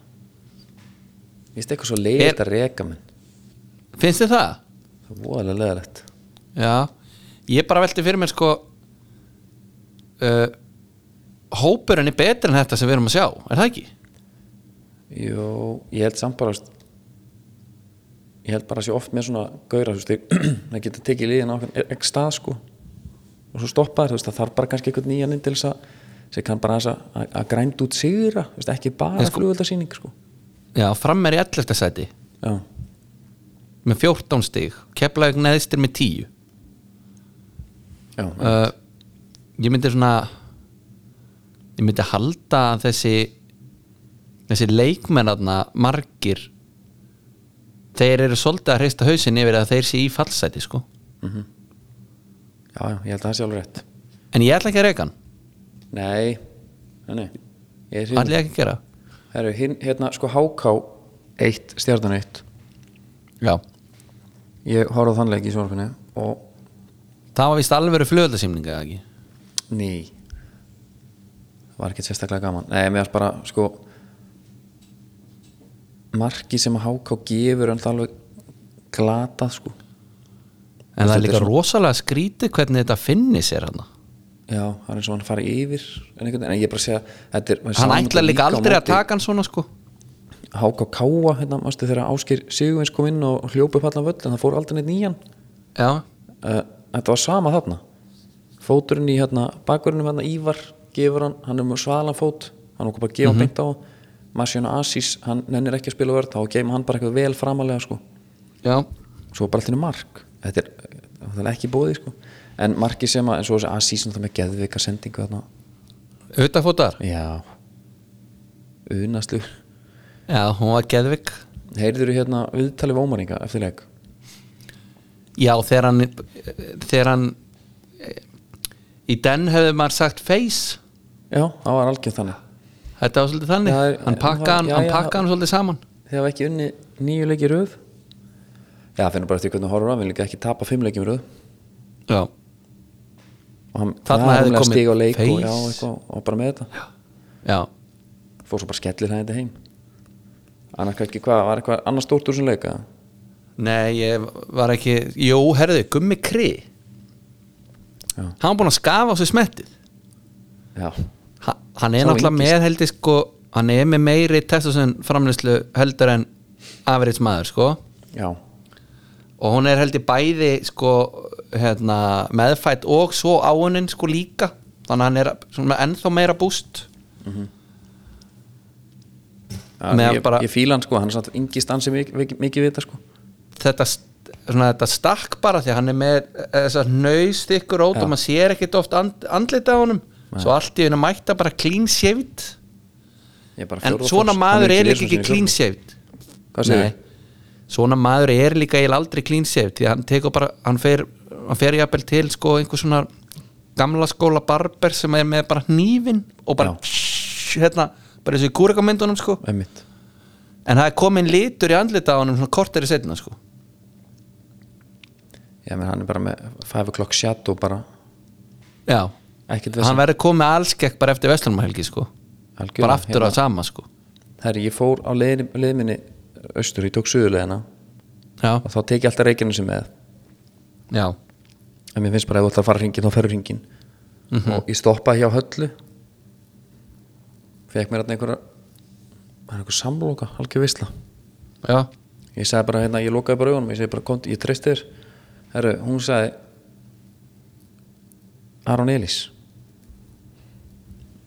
Speaker 1: Ég veist eitthvað svo leiðið að reka minn.
Speaker 2: finnst þið það?
Speaker 1: Það er voðalega leðilegt.
Speaker 2: Já, ég bara velti fyrir mér sko uh, hópurinn er betri en þetta sem við erum að sjá, er það ekki?
Speaker 1: Jú, ég held samt bara, veist, ég held bara að sé oft með svona gauðra, þú veist, þeir- [clears throat] það geta tekið liðin á ekki stað, sko, og svo stoppa þér, þú veist, það þarf bara kannski einhvern nýjan inn til þess að, sem kann bara aðeins að, að, að grænda út sigra, þú veist, ekki bara
Speaker 2: En
Speaker 1: sko,
Speaker 2: sko-
Speaker 1: flugvöldasýning, sko.
Speaker 2: Já, fram er í 11. sæti
Speaker 1: Já,
Speaker 2: með 14 stig, Keflavík neðstir með 10
Speaker 1: já,
Speaker 2: uh, ég myndi svona ég myndi halda að þessi þessi leikmennarna margir þeir eru svolítið að hreista hausin yfir að þeir sé í fallsæti sko
Speaker 1: já, já, ég held að það sé alveg rétt.
Speaker 2: en ég ætla ekki að reyka hann,
Speaker 1: Nei, nei, nei, ég er
Speaker 2: ætla
Speaker 1: síðan.
Speaker 2: ég ekki að gera
Speaker 1: Herru, hinn, hérna, sko, HK 1, stjarnan 1,
Speaker 2: já,
Speaker 1: ég horfði á þannleik í sjónarfinni og
Speaker 2: það var vist alveg flöðlasýmninga ekki
Speaker 1: Ný Var ekki sérstaklega gaman Nei, mér varst bara sko Marki sem að HK gefur en það alveg glatað sko
Speaker 2: en það
Speaker 1: Þetta
Speaker 2: er
Speaker 1: er
Speaker 2: líka
Speaker 1: svo-
Speaker 2: rosalega skrítið hvernig þetta finni sér hann
Speaker 1: Já, það er eins og hann fari yfir en, einhvern, veginn. en ég er bara að segja þetta er, maður sá
Speaker 2: hann
Speaker 1: þetta
Speaker 2: ætlar líka
Speaker 1: á
Speaker 2: aldrei að
Speaker 1: móti
Speaker 2: taka hann svona sko
Speaker 1: HK Káa, hérna, mástu þegar Áskir Sigurvins kom inn og hljópa upp allan völl en það fór aldrei neitt nýjan
Speaker 2: já,
Speaker 1: uh, Þetta var sama þarna Fóturinn í hérna, bakverðinum hérna Ívar gefur hann, hann er með svalan fót hann okkur bara að gefa mm beint á hann. Masjón Asís, hann nennir ekki að spila vörð þá geima hann bara eitthvað vel framalega sko.
Speaker 2: já,
Speaker 1: svo bara allir mark þetta er, það er ekki bóði sko. en marki sem að, en svo þessi Asís það með geðvika sendingu þarna
Speaker 2: utafótar
Speaker 1: já unaslu
Speaker 2: já, hún var geðvik
Speaker 1: heyrður hérna viðtalið ómaringa eftir leik
Speaker 2: Já, þegar hann þegar hann í den hefði maður sagt face
Speaker 1: já, það var algjörð þannig
Speaker 2: þetta var svolítið þannig,
Speaker 1: Já,
Speaker 2: hann
Speaker 1: en
Speaker 2: pakkaði
Speaker 1: það-
Speaker 2: hann,
Speaker 1: já,
Speaker 2: hann,
Speaker 1: já,
Speaker 2: pakkaði hann svolítið saman
Speaker 1: Þið hafa ekki unni nýju leiki í röð Já, það finnur bara eftir hvernig horfum við líka ekki tapa fimm leikjum í röð
Speaker 2: Já,
Speaker 1: og hann
Speaker 2: Þarna
Speaker 1: það er
Speaker 2: hefði
Speaker 1: rúmlega
Speaker 2: komið
Speaker 1: stig á leik og,
Speaker 2: face.
Speaker 1: já, eitthvað, og bara með þetta
Speaker 2: já,
Speaker 1: fór svo bara skellir það þetta heim annars kannski hvað, var eitthvað annars stórt úr sem leika
Speaker 2: nei, ég var ekki Jó, herðu, gummi kri
Speaker 1: Já.
Speaker 2: Hann var búin að skafa á sig smettið
Speaker 1: já,
Speaker 2: Ha- Hann er
Speaker 1: Sá
Speaker 2: náttúrulega
Speaker 1: yngist.
Speaker 2: með heldur sko, hann er með meiri testosun framlýslu heldur en afrits maður, sko
Speaker 1: já,
Speaker 2: og hún er heldur bæði sko, hérna, meðfætt og svo áunin sko líka þannig að hann er svona, ennþá meira búst
Speaker 1: já
Speaker 2: Meðan
Speaker 1: ég,
Speaker 2: bara-
Speaker 1: ég fíla hann sko hann er samt yngist ansi mikið, mikið við þetta sko
Speaker 2: þetta st- svona þetta stakk bara því að hann er með eh, þessar nöystikkur út og maður sér ekkit oft and, andlita á honum svo allt í hennu mætta bara clean shaved
Speaker 1: Ég er bara
Speaker 2: en
Speaker 1: fjórða flokks.
Speaker 2: svona
Speaker 1: Hann
Speaker 2: maður er
Speaker 1: einu sinni
Speaker 2: líka ekki
Speaker 1: einu sinni
Speaker 2: clean
Speaker 1: fjórða.
Speaker 2: shaved
Speaker 1: Hvað segir þið?
Speaker 2: svona maður er líka eiginlega aldrei clean shaved því að hann tekur bara, hann fer hann fer jafnvel til sko einhver svona gamla skóla barber sem er með bara hnífin og bara hérna, bara þessu kúrekamyndunum sko
Speaker 1: Einmitt.
Speaker 2: en það er komin litur í andlita á hann svona kortari setna sko
Speaker 1: Já, menn hann er bara með 5 o'clock shadow bara
Speaker 2: já,
Speaker 1: Ekkert
Speaker 2: hann verður komið allskekk bara eftir vestlunumhelgi sko
Speaker 1: Algjörlega,
Speaker 2: bara aftur
Speaker 1: hérna.
Speaker 2: á sama sko
Speaker 1: Herri, ég fór á leiðin- leið minni austur, ég tók suðurleiðina
Speaker 2: já,
Speaker 1: og þá tek ég alltaf reikinu sem með
Speaker 2: já,
Speaker 1: en mér finnst bara ef þú ætlar að fara hringin þá ferur hringin og ég stoppaði hjá höllu fekk mér hérna einhverja það er einhver samloka, algjör visla
Speaker 2: já,
Speaker 1: ég sagði bara hérna, ég lokaði bara augunum ég segi bara, kom, ég treysti þér herru, hún sagði Aron Elís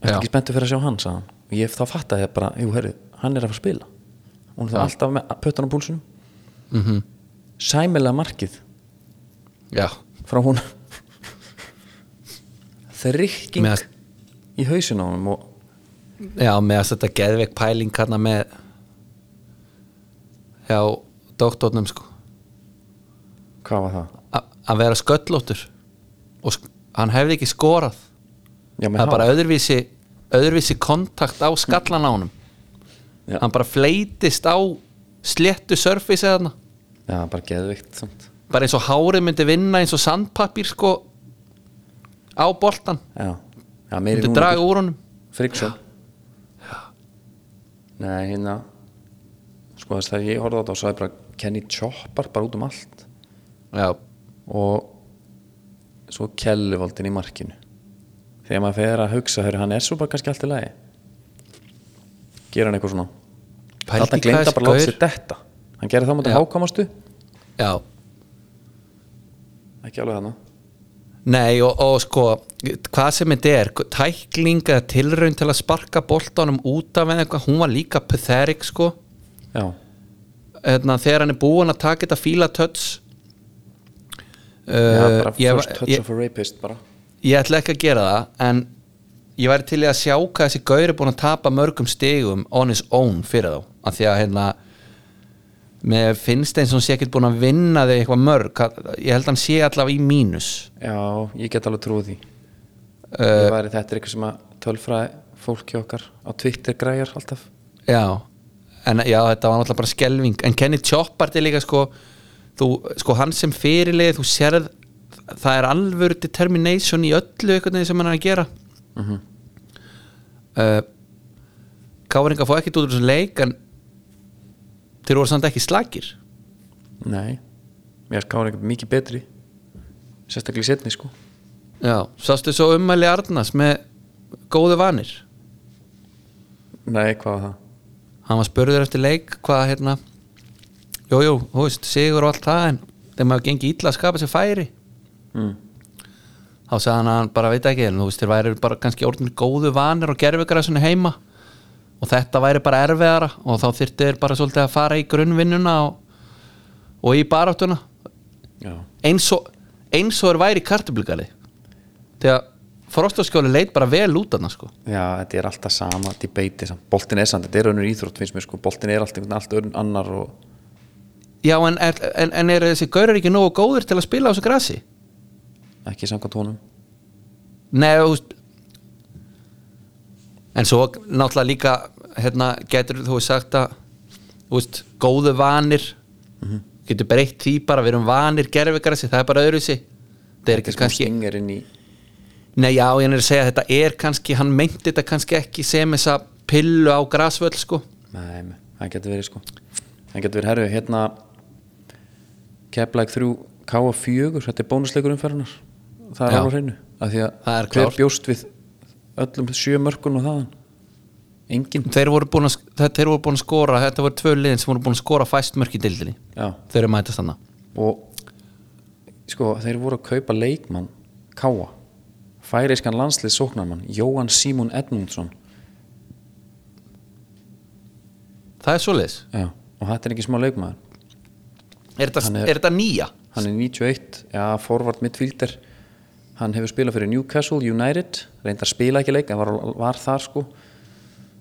Speaker 1: Ertu
Speaker 2: Já.
Speaker 1: ekki spenntu fyrir að sjá hann, sagði hann og ég þá fattaði ég bara, jú herru, hann er að fara að spila hún er það alltaf með pötan á púlsunum mm
Speaker 2: Mhm.
Speaker 1: -hmm. sæmilega markið
Speaker 2: já.
Speaker 1: frá hún þrykking
Speaker 2: Með-
Speaker 1: í hausin á honum og
Speaker 2: já með að þetta geðveik pæling hérna með hjá doktornum sko
Speaker 1: hvað var það?
Speaker 2: A- að vera sköllóttur og sk hann hefði ekki skorað
Speaker 1: Já, með
Speaker 2: það er
Speaker 1: hár.
Speaker 2: bara öðruvísi öðruvísi kontakt á skallan á honum
Speaker 1: Já.
Speaker 2: hann bara fleitist á sléttu surface eða þarna
Speaker 1: Já, bara geðvikt samt.
Speaker 2: bara eins og hárið myndi vinna eins og sandpapír sko á boltan
Speaker 1: Já, já meiri
Speaker 2: myndi draga úr honum
Speaker 1: Friksson Nei, hérna sko þess þegar ég horfði á þetta og sagði bara Kenny Chopper bara út um allt
Speaker 2: já,
Speaker 1: og svo Kellivaldin í markinu þegar maður fer að hugsa hörru, hann er svo bara kannski allt í lagi gera hann eitthvað svona
Speaker 2: Pældi
Speaker 1: þarna
Speaker 2: hvað
Speaker 1: glemta
Speaker 2: þessi
Speaker 1: bara að láta
Speaker 2: gaur-
Speaker 1: sér detta hann gerði það mútið
Speaker 2: Já.
Speaker 1: hákamastu
Speaker 2: já
Speaker 1: ekki alveg hana
Speaker 2: Nei og, og sko hvað sem þetta er, tæklinga tilraun til að sparka boltanum út af eða eitthvað, hún var líka pathetic sko
Speaker 1: já,
Speaker 2: hérna, þegar hann er búinn að taka þetta fíla töts
Speaker 1: já
Speaker 2: uh,
Speaker 1: bara
Speaker 2: ég,
Speaker 1: first touch
Speaker 2: ég,
Speaker 1: of a rapist bara
Speaker 2: ég ætla ekki að gera það en ég væri til í að sjá hvað þessi gaur er búinn að tapa mörgum stigum on his own fyrir þá af því að hérna með finnst eins og hann sé ekkert búinn að vinna þau eitthvað mörg, Hann- ég held að hann sé allavega í mínus Uh,
Speaker 1: já, ég get alveg trúið því Uh, ég væri þetta er eitthvað sem að tölfræði fólki okkar á Twitter græjar alltaf
Speaker 2: Já, en já, þetta var náttúrulega bara skelving En Kenny Choppart er líka sko þú, sko hann sem fyrirlið þú sérð, það er alvöru determination í öllu einhvern veginn sem hann er að gera mm -hmm. Káringa fá ekkert út úr þessum leik en þeir voru samt ekki slagir
Speaker 1: nei, mér er Kári eitthvað mikið betri sérstaklega í setni sko
Speaker 2: Já, sástu svo ummæli Arnas með góðu vanir
Speaker 1: nei, hvað var það?
Speaker 2: hann var spurður eftir leik hvað hérna jújú, jú, þú veist, sigur og allt það en þegar maður gengi illa að skapa sér færi
Speaker 1: Mm.
Speaker 2: þá sagði hann að hann bara veit ekki en þú veist, þér væri bara kannski orðin góðu vanir og gerfikar að svona heima og þetta væri bara erfiðara og þá þyrfti þér bara svolítið að fara í grunnvinnuna og, og í baráttuna
Speaker 1: já,
Speaker 2: eins og eins og er væri kartublikali þegar Frostarskjóli leit bara vel út hann sko.
Speaker 1: já þetta er alltaf sama debate, samt. boltin er samt, þetta er önnur íþrótt finnst mér sko, boltin er alltaf allt önnur annar og
Speaker 2: já en, er, en, en er þessi gaurar ekki nógu góður til að spila á þessu grasi
Speaker 1: ekki samkvæmt honum
Speaker 2: Nei, þú veist En svo náttúrulega líka hérna, getur þú sagt að þú veist, góðu vanir
Speaker 1: Mhm.
Speaker 2: getur breytt því bara við erum vanir gerfigrassi, það er bara öðruvísi það er
Speaker 1: þetta
Speaker 2: ekki
Speaker 1: er smá
Speaker 2: kannski,
Speaker 1: stingar inn í
Speaker 2: nei já, ég er að segja að þetta er kannski, hann meinti þetta kannski ekki sem þessa pillu á grasvöll sko,
Speaker 1: Nei, nei, það getur verið sko Það getur verið herru, hérna Keflæk 3 K4 Þetta er bónusleikur umferðunar Það er
Speaker 2: Já.
Speaker 1: alveg á hreinu af því að
Speaker 2: Það er
Speaker 1: Hver
Speaker 2: klárt.
Speaker 1: bjóst við öllum sjö mörkun og þaðan Engin
Speaker 2: þeir voru búin að sk- þe- þeir voru búin að skora, þetta voru tvö liðin sem voru búin að skora fæst mörk í dildinni,
Speaker 1: Já.
Speaker 2: þeir eru mætast þannig
Speaker 1: Og sko, þeir voru að kaupa leikmann Káa Færiskan landslið sóknarmann Jóhann Símon Edmundsson
Speaker 2: það er svoleiðis,
Speaker 1: Já, og þetta er ekki smá leikmaður
Speaker 2: er þetta,
Speaker 1: Hann er-
Speaker 2: er, þetta nýja?
Speaker 1: hann er 91, já, forward midfielder hann hefur spilað fyrir Newcastle United, reyndar spila ekki leik en var, var þar sko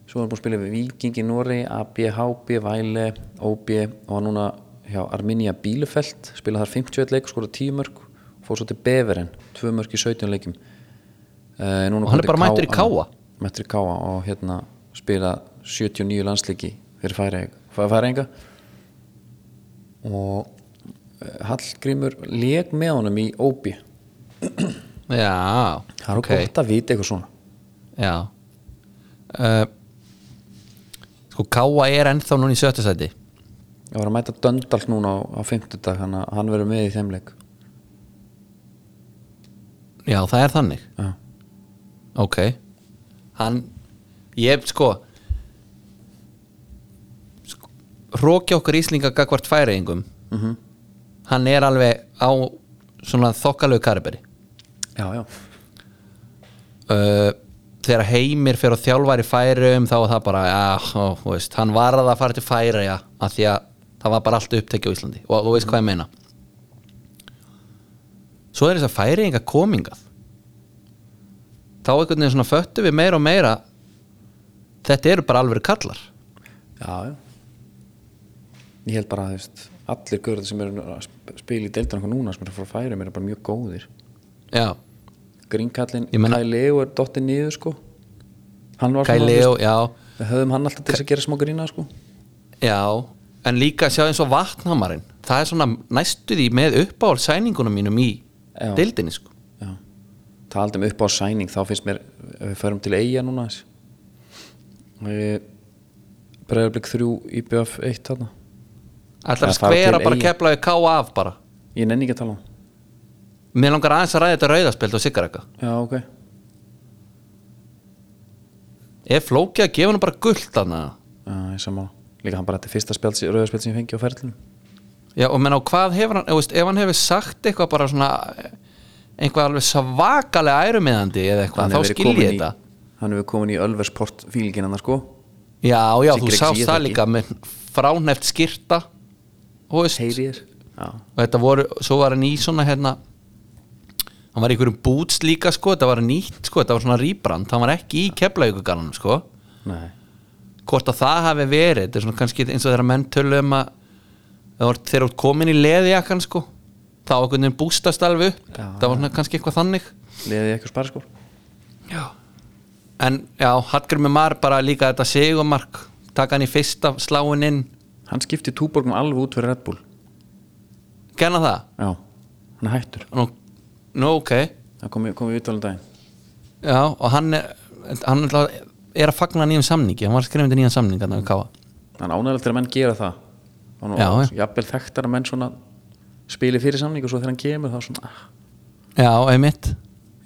Speaker 1: svo hann búin að spila fyrir Viking í Noregi ABH, Bvæle, OB og var núna hjá Arminia Bielefeld spilað þar 51 leik, skora 10 mörg fór svo til Beveren, 2 mörg í 17 leikum uh,
Speaker 2: Og hann er bara mættur í KA?
Speaker 1: mættur í Káa og hérna spila 79 landsleiki fyrir Færeyinga- Færeyinga og eh, Hallgrímur leg með honum í óbi
Speaker 2: Já,
Speaker 1: það er okay. gott að vita eitthvað svona
Speaker 2: Já uh, Sko Káa er ennþá núna í sjötta sæti
Speaker 1: ég var að mæta Döndal núna á, á fimmtudag hann, hann verður með í þeim leik
Speaker 2: Já, það er þannig
Speaker 1: Já.
Speaker 2: Ok Hann, ég sko Róki okkar Íslinga gagvart færeingum
Speaker 1: Mhm.
Speaker 2: -hmm. Hann er alveg á svona þokkalegu kariberi
Speaker 1: já, já,
Speaker 2: uh, Þegar heimir fyrir að þjálfar í færum þá er það bara, já, ó, þú veist hann varð að fara til færa, já, að því að það var bara allt upptekið á Íslandi og þú veist hvað ég meina Svo er þess að færinga komingað þá einhvern veginn svona föttu við meira og meira þetta eru bara alveg kallar
Speaker 1: já, já. ég held bara að þú veist, allir görður sem eru að sp- spila í deildina okkar núna sem eru að fara að færa mér er bara mjög góðir
Speaker 2: Já,
Speaker 1: Grínkallin,
Speaker 2: Ég meina-
Speaker 1: Kai Leo er dottið niður sko hann var
Speaker 2: Kai
Speaker 1: svona, þú
Speaker 2: Leo,
Speaker 1: veist,
Speaker 2: já,
Speaker 1: við höfum hann alltaf til þess að gera smá grína sko
Speaker 2: já en líka sjá eins og vatnhamarinn það er svona næstu því með uppáhald sæningunum mínum í
Speaker 1: Já.
Speaker 2: deildinni sko
Speaker 1: Já, taldum upp á sæning þá finnst mér, ef við förum til eiga núna Breiðarblik 3 IBF 1 þarna
Speaker 2: Ætlar
Speaker 1: Eða
Speaker 2: að
Speaker 1: fara
Speaker 2: skvera
Speaker 1: til
Speaker 2: bara
Speaker 1: Eyja.
Speaker 2: keflaði ká af bara
Speaker 1: ég nenni ekki að tala um
Speaker 2: Mér langar aðeins að ræða þetta rauðaspjöld og sigarekka
Speaker 1: já ok,
Speaker 2: Er flókið að gefa hann bara gullt þarna?
Speaker 1: já, ég sammála líka hann bara þetta er fyrsta spjald, rauðarspjald sem ég fengi á ferlinu
Speaker 2: Já, og menn á hvað hefur hann, eða, veist, ef hann hefur sagt eitthvað bara svona einhvað alveg svakalega ærumiðandi eða eitthvað, þá skil ég þetta
Speaker 1: hann hefur komin í Ölversport fílginna sko
Speaker 2: Já, já,
Speaker 1: Siggi
Speaker 2: þú
Speaker 1: Rex,
Speaker 2: sást
Speaker 1: ég
Speaker 2: það
Speaker 1: þekki.
Speaker 2: líka með fráneft skýrta og veist,
Speaker 1: heyrið já,
Speaker 2: og þetta voru, svo var hann í svona hérna hann var í einhverjum boots líka sko, þetta var nýtt sko, þetta var svona rýbrand, hann var ekki í keflaugugannanum sko
Speaker 1: nei,
Speaker 2: hvort að það hafi verið þetta er svona kannski eins og þegar menn tölu um að þegar þeir eru komin í leðiakkan sko þá einhvern veginn bústast alveg upp
Speaker 1: Já.
Speaker 2: það var svona kannski eitthvað þannig
Speaker 1: leðið ekki spara sko
Speaker 2: já. en já, Hallgrimur Mar bara líka þetta segumark taka hann í fyrsta sláin inn
Speaker 1: hann skipti túborgum alveg út fyrir Red Bull
Speaker 2: gerna það?
Speaker 1: já, hann er hættur
Speaker 2: Nú, nú ok
Speaker 1: það kom, kom við viðtalum daginn
Speaker 2: já, og hann er, hann er að- er að fagna nýjum samningi, hann var skrifandi nýjan samning hann að káa
Speaker 1: þannig ánægilegt þegar menn gera það og nú
Speaker 2: Já, já.
Speaker 1: jafnvel þekktar að menn svona spili fyrir samning og svo þegar hann kemur þá svona ah,
Speaker 2: já, einmitt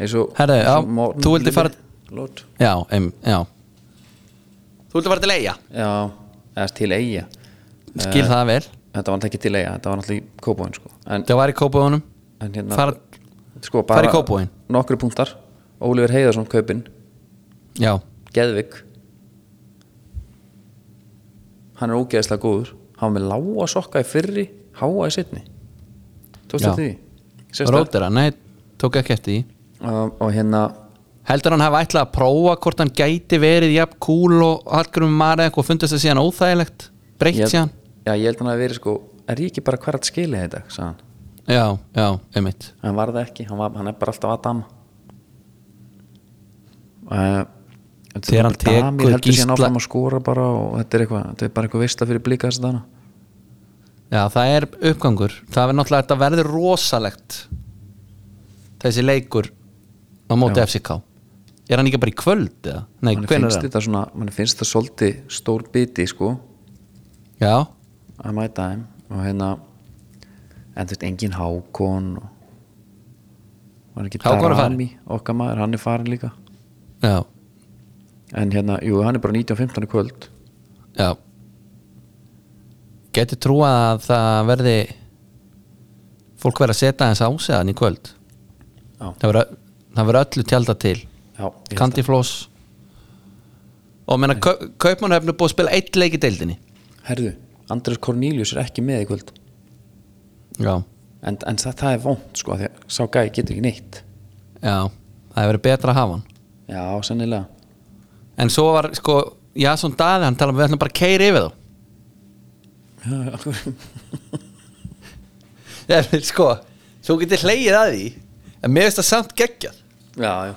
Speaker 1: eins og
Speaker 2: Herðu,
Speaker 1: eins og
Speaker 2: já,
Speaker 1: Morten
Speaker 2: þú vildir
Speaker 1: Lille-
Speaker 2: fara-
Speaker 1: Lord.
Speaker 2: já, einmitt, já þú ert að fara til eiga
Speaker 1: já, eða til eiga
Speaker 2: skil það vel,
Speaker 1: þetta var náttúrulega ekki til eiga, þetta var náttúrulega í kópóin sko. en,
Speaker 2: það var í kópaðunum
Speaker 1: en hérna
Speaker 2: fara,
Speaker 1: sko,
Speaker 2: fara í
Speaker 1: bara
Speaker 2: Kópavoginn.
Speaker 1: nokkru punktar, Ólífur Heiðarsson kaupin
Speaker 2: já,
Speaker 1: Geðvik hann er ógeðslega góður hann var með lága sokka í fyrri háa í sitni tókst
Speaker 2: Já.
Speaker 1: þetta því? Sést það?
Speaker 2: Rótera, nei, tók ekki eftir því
Speaker 1: og, og hérna
Speaker 2: heldur hann hafa ætlað að prófa hvort hann gæti verið jafn kúl og hallgrum marið eitthvað og fundist það síðan óþægilegt breytt
Speaker 1: ég,
Speaker 2: síðan
Speaker 1: já, ég held hann að vera sko er ég ekki bara hver að skilja þetta sagði hann.
Speaker 2: já, já, einmitt
Speaker 1: hann var það ekki, hann, var, hann er bara alltaf að dama uh,
Speaker 2: Þegar hann tekur
Speaker 1: heldur síðan
Speaker 2: Gísla-
Speaker 1: áfram að skora bara og þetta er, eitthvað, þetta er bara eitthvað veistla fyrir blika þess að dana
Speaker 2: já, það er uppgangur, það er náttúrulega þetta verður rosalegt þessi leikur á móti
Speaker 1: Já.
Speaker 2: FCK er hann ekki bara í kvöld eða? nei,
Speaker 1: mann
Speaker 2: hvernig er
Speaker 1: finnst
Speaker 2: hann?
Speaker 1: þetta svona mann finnst þetta svolítið stór biti sko
Speaker 2: já,
Speaker 1: að mæta þeim og hérna en þú veist engin Hákon og var ekki
Speaker 2: Hákon er
Speaker 1: Darami okkar maður, hann er farin líka
Speaker 2: já,
Speaker 1: en hérna, jú, hann er bara 19.15 í kvöld
Speaker 2: já geti trúa að það verði fólk verið að setja hans áseðan í kvöld
Speaker 1: Já.
Speaker 2: það verður- það verður öllu tjálta til
Speaker 1: Já, ég held
Speaker 2: Candy Floss og menna Kaupmannhöfn er búið að spila eitt leik í deildinni
Speaker 1: Herðu, Andrés Cornelius er ekki með í kvöld
Speaker 2: já,
Speaker 1: en, en það, það er vond sko, af því að sá gæi getur ekki neitt
Speaker 2: já það hefur verið betra að hafa hann
Speaker 1: já, sennilega
Speaker 2: en svo var sko, Jason Daði hann talaði um við ætlum bara að keiri yfir [laughs] þá já, já sko, þú getur hleyið að því en mér finnst það samt geggjað
Speaker 1: já, já,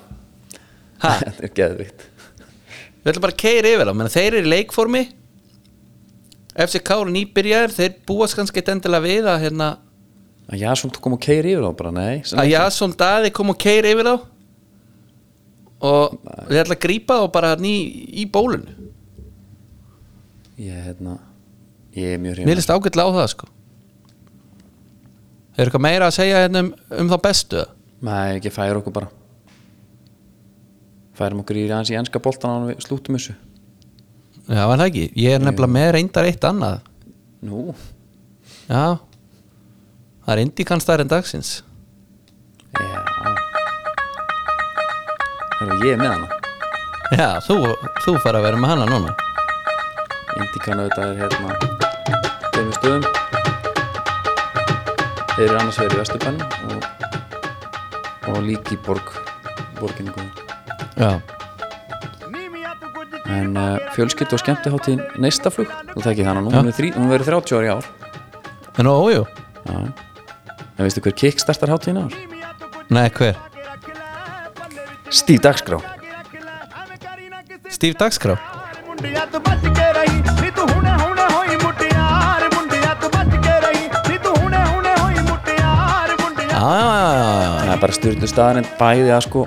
Speaker 2: ha,
Speaker 1: [laughs] þetta er geðvikt
Speaker 2: við ætlum bara að keiri yfir þá menn þeir eru í leikformi FCK eru nýbyrjar þeir búast kannski ekkert endilega við að hérna,
Speaker 1: að Jason kom og keiri yfir þá bara, nei
Speaker 2: að
Speaker 1: sennilega.
Speaker 2: Jason Daði kom og keiri yfir þá og þeir ætla að grípa þá bara hann í, í bólun
Speaker 1: ég, hérna, ég er mjög
Speaker 2: Mér
Speaker 1: hrifin
Speaker 2: líst ágætlega á það sko Er eitthvað meira að segja hérna um, um það bestu? eða?
Speaker 1: nei, ekki færa okkur bara færum okkur í hans í enska boltan án við slútum þessu
Speaker 2: Já, var það ekki Ég er nefnilega með reyndar eitt annað
Speaker 1: nú,
Speaker 2: Já Það er Indikans þar en dagsins
Speaker 1: já Heru, ég er með hana
Speaker 2: Já, þú, þú fara að vera með hana núna
Speaker 1: Indikan auðvitað er hérna tveimur stöðum þeir eru annars vegar í Vesturbænum og, og líki borg borginni góð
Speaker 2: Já,
Speaker 1: en uh, fjölskyldu og skemmtiháttíðin neistaflug, þú tekið þannig nú hún, er þrí, hún verið 30 ári í ár
Speaker 2: en ójú
Speaker 1: Já. en veistu hver kickstartar háttíðin ár?
Speaker 2: Nei, hver?
Speaker 1: Stíf dagskrá
Speaker 2: Steve Dagskrá
Speaker 4: ਮੁੰਡਿਆ ਤੂੰ ਬਚ ਕੇ ਰਹੀ ਨੀ ਤੂੰ ਹੁਣੇ ਹੁਣੇ ਹੋਈ ਮੁਟਿਆਰ ਮੁੰਡਿਆ ਤੂੰ ਬਚ ਕੇ ਰਹੀ ਨੀ ਤੂੰ ਹੁਣੇ ਹੁਣੇ ਹੋਈ ਮੁਟਿਆਰ ਮੁੰਡਿਆ
Speaker 2: Já, já, já, já
Speaker 1: það er bara styrtu staðarinn bæði að sko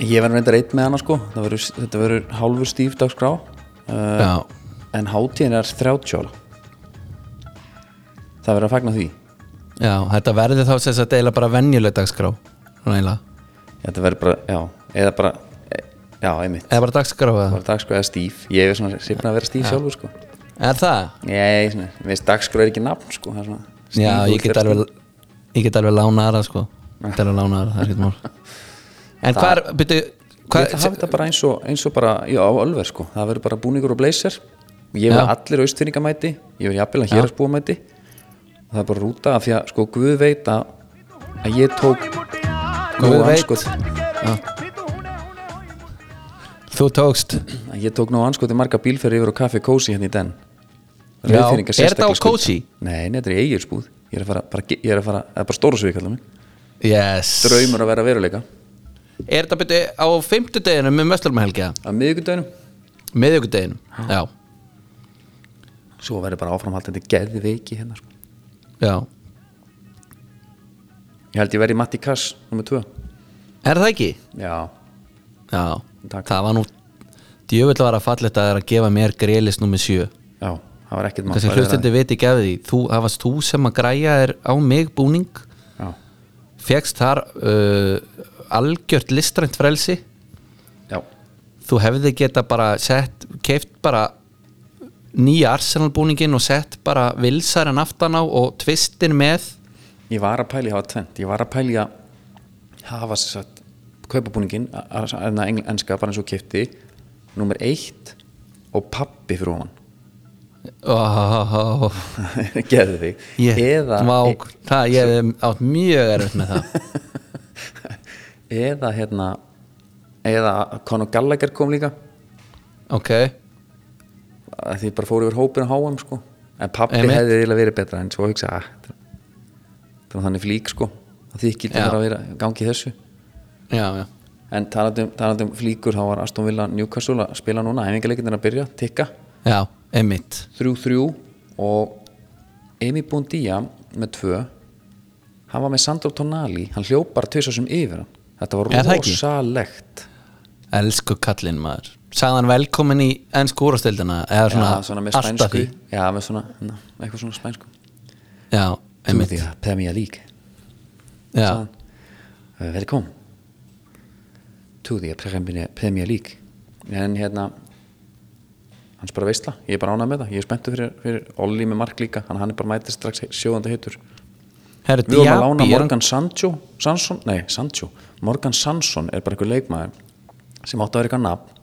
Speaker 1: ég verður reyndar eitt með hana sko Það verður- þetta verður hálfur stíf dagskrá uh,
Speaker 2: Já,
Speaker 1: en hátíðin er 30 ára það verður að fagna því
Speaker 2: já, þetta verði þá sem sagt eiginlega bara venjuleg dagskrá Svona eiginlega
Speaker 1: þetta verður bara, já, eða bara e, já, einmitt,
Speaker 2: Eða bara dagskrá
Speaker 1: það
Speaker 2: eða
Speaker 1: var dagskrá eða stíf ég er svona sifna að vera stíf sjálfur sko
Speaker 2: Er það?
Speaker 1: ég, svona, mér finnst dagskrá er ekki nafn sko það er svona stíf
Speaker 2: Já,
Speaker 1: og
Speaker 2: ég get
Speaker 1: þér, sko.
Speaker 2: alveg ég get alveg lánaðara sko ég get alveg lánaðara, það er ekkert mál En hvað er, byrju
Speaker 1: ég ætla að hafa þetta bara eins og, eins og bara já, á Ölver sko, það verður bara búningur og blazer ég verður
Speaker 2: Já.
Speaker 1: allir austfinningamæti ég verður jafnvel að hér að spúa mæti og það er bara rúta af því að sko Guð veit að, að ég tók sko,
Speaker 2: Guð
Speaker 1: nóg
Speaker 2: veit.
Speaker 1: andskot-
Speaker 2: þú tókst
Speaker 1: að ég tók nóg anskoti marga bílferði yfir á kaffi Kósi hérna í den
Speaker 2: Já,
Speaker 1: Reyðfirðingar
Speaker 2: er þetta
Speaker 1: sérstaklega
Speaker 2: á
Speaker 1: skulda.
Speaker 2: Kósí?
Speaker 1: Nei, nei, þetta er eigilsbúð Ég er að fara, bara, ge- ég er að fara, það er bara stóra svið kallar mig
Speaker 2: Yes
Speaker 1: Draumur að vera veruleika
Speaker 2: Er þetta byrju á fimmtudeginu með möslumhelgiða?
Speaker 1: Á miðvíkudagunum,
Speaker 2: Miðvikudeginu? Já,
Speaker 1: svo verður bara áframhaldandi geði veiki hérna sko.
Speaker 2: já
Speaker 1: Ég held ég verði Matti Kass, nummer 2
Speaker 2: Er það ekki?
Speaker 1: Já,
Speaker 2: Já,
Speaker 1: Takk.
Speaker 2: það var nú djöfull var að falla þetta að gefa mér greilis nummer sjö
Speaker 1: já, það var ekkert mál
Speaker 2: Þessi
Speaker 1: Það er
Speaker 2: hlustandi veit ekki af því þú, Það varst þú sem að græja er á mig búning
Speaker 1: að- Já,
Speaker 2: Fekst þar uh, algjört listrænt frelsi
Speaker 1: já,
Speaker 2: þú hefði geta bara sett, keift bara nýja Arsenal búningin og sett bara vilsarinn aftan á og tvistin með
Speaker 1: ég var að pæli hafa tvent Ég var að pæli að hafa sér sagt kaupabúningin, a- a- a- engl- enska bara eins og kipti, nummer 1 og pappi fyrir ofan
Speaker 2: oh,
Speaker 1: [laughs] gerði þig
Speaker 2: ég,
Speaker 1: eða, e-
Speaker 2: má, það, ég hef átt mjög erfitt með
Speaker 1: [laughs]
Speaker 2: það
Speaker 1: eða hérna eða Conor Gallagher kom líka
Speaker 2: ok,
Speaker 1: að því bara fóru yfir hópin á HM sko. en pappi
Speaker 2: Einmitt.
Speaker 1: hefði eiginlega verið betra en svo "Ah, hugsa að það var þannig flík sko að því ekki
Speaker 2: Já.
Speaker 1: að vera gangi í þessu
Speaker 2: já, já
Speaker 1: en talandi um, talandi um flíkur þá var Aston Villa Newcastle að spila núna æfingarleikindin að byrja, tikka
Speaker 2: já, einmitt
Speaker 1: 3-3 og Emi Bundía með 2 hann var með Sandro Tonali hann hljóp bara tvisar sem yfir hann þetta
Speaker 2: Er
Speaker 1: var
Speaker 2: það ekki?
Speaker 1: rosalegt
Speaker 2: elsku kallinn maður sagðan velkomin í ennsku úrastildina eða svona,
Speaker 1: já, svona með
Speaker 2: allt að
Speaker 1: spænsku
Speaker 2: því.
Speaker 1: já, með svona, na, eitthvað svona spænsku
Speaker 2: já, einmitt
Speaker 1: því að Premier League
Speaker 2: já,
Speaker 1: uh, velkom to the Premier Premier League en hérna hans bara veistla, ég er bara ánað með það ég er spenntu fyrir, fyrir Olli með Mark líka hann, hann er bara mætið strax sjóðandi hittur
Speaker 2: herru,
Speaker 1: við vorum að lána
Speaker 2: Diaby, er hann-
Speaker 1: Morgan Sancho Sansson, nei Sancho Morgan Sansson er bara einhver leikmaður sem átti að vera eitthvað nafn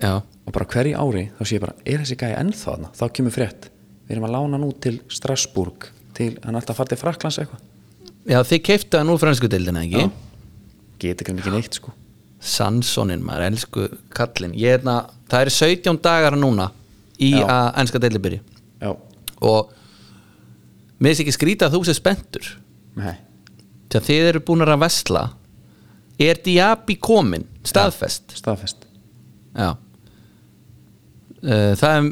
Speaker 2: já,
Speaker 1: og bara hverju ári þá sé ég bara, er þessi gæja ennþá þarna? þá kemur frétt, við erum að lána nú til Strasbourg til, hann ætti að fara til Fraklands eitthvað
Speaker 2: Já, þið keiftu hann úr fransku deildina, ekki?
Speaker 1: Já. geta ekki ekki neitt sko
Speaker 2: Sansonin, maður, elsku kallinn Ég er það, það eru 17 dagar núna í
Speaker 1: Já.
Speaker 2: að ennska deildin byrji
Speaker 1: já,
Speaker 2: og mér finnst ekki skrýta að þú sér spenntur
Speaker 1: nei,
Speaker 2: þegar þið eru búin að vesla er Diaby komin staðfest
Speaker 1: staðfest
Speaker 2: já Uh, það er,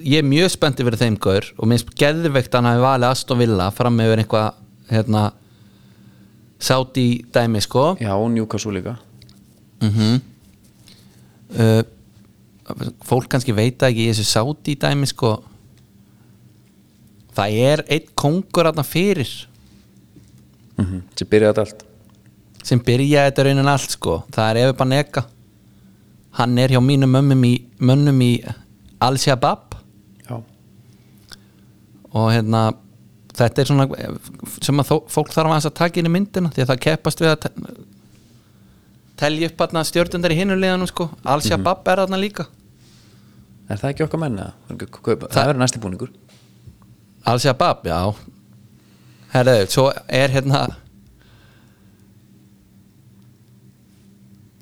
Speaker 2: ég er mjög spenntið fyrir þeim gaur og minnst geðvegt að hann hafi valið Aston Villa fram með einhvað hérna sátt í dæmi sko
Speaker 1: já, og Newcastle líka
Speaker 2: uh, fólk kannski veit það ekki í þessu sátt í dæmi sko það er einn kongur aðna fyrir
Speaker 1: Mhm, sem byrjaði þetta allt
Speaker 2: sem byrjaði þetta raunin allt sko það er Efi Banega hann er hjá mínum mönnum í, mönnum í Al-Shabab
Speaker 1: já,
Speaker 2: og hérna þetta er svona sem að þó, fólk þarf aðeins að taka inn í myndina því að það keppast við að te- telja upp hérna stjórnundar í hinuleganum sko Al-Shabab er þarna líka
Speaker 1: er það ekki okkar menna það, það, það verður næsti búningur
Speaker 2: Al-Shabab, já herðu, svo er hérna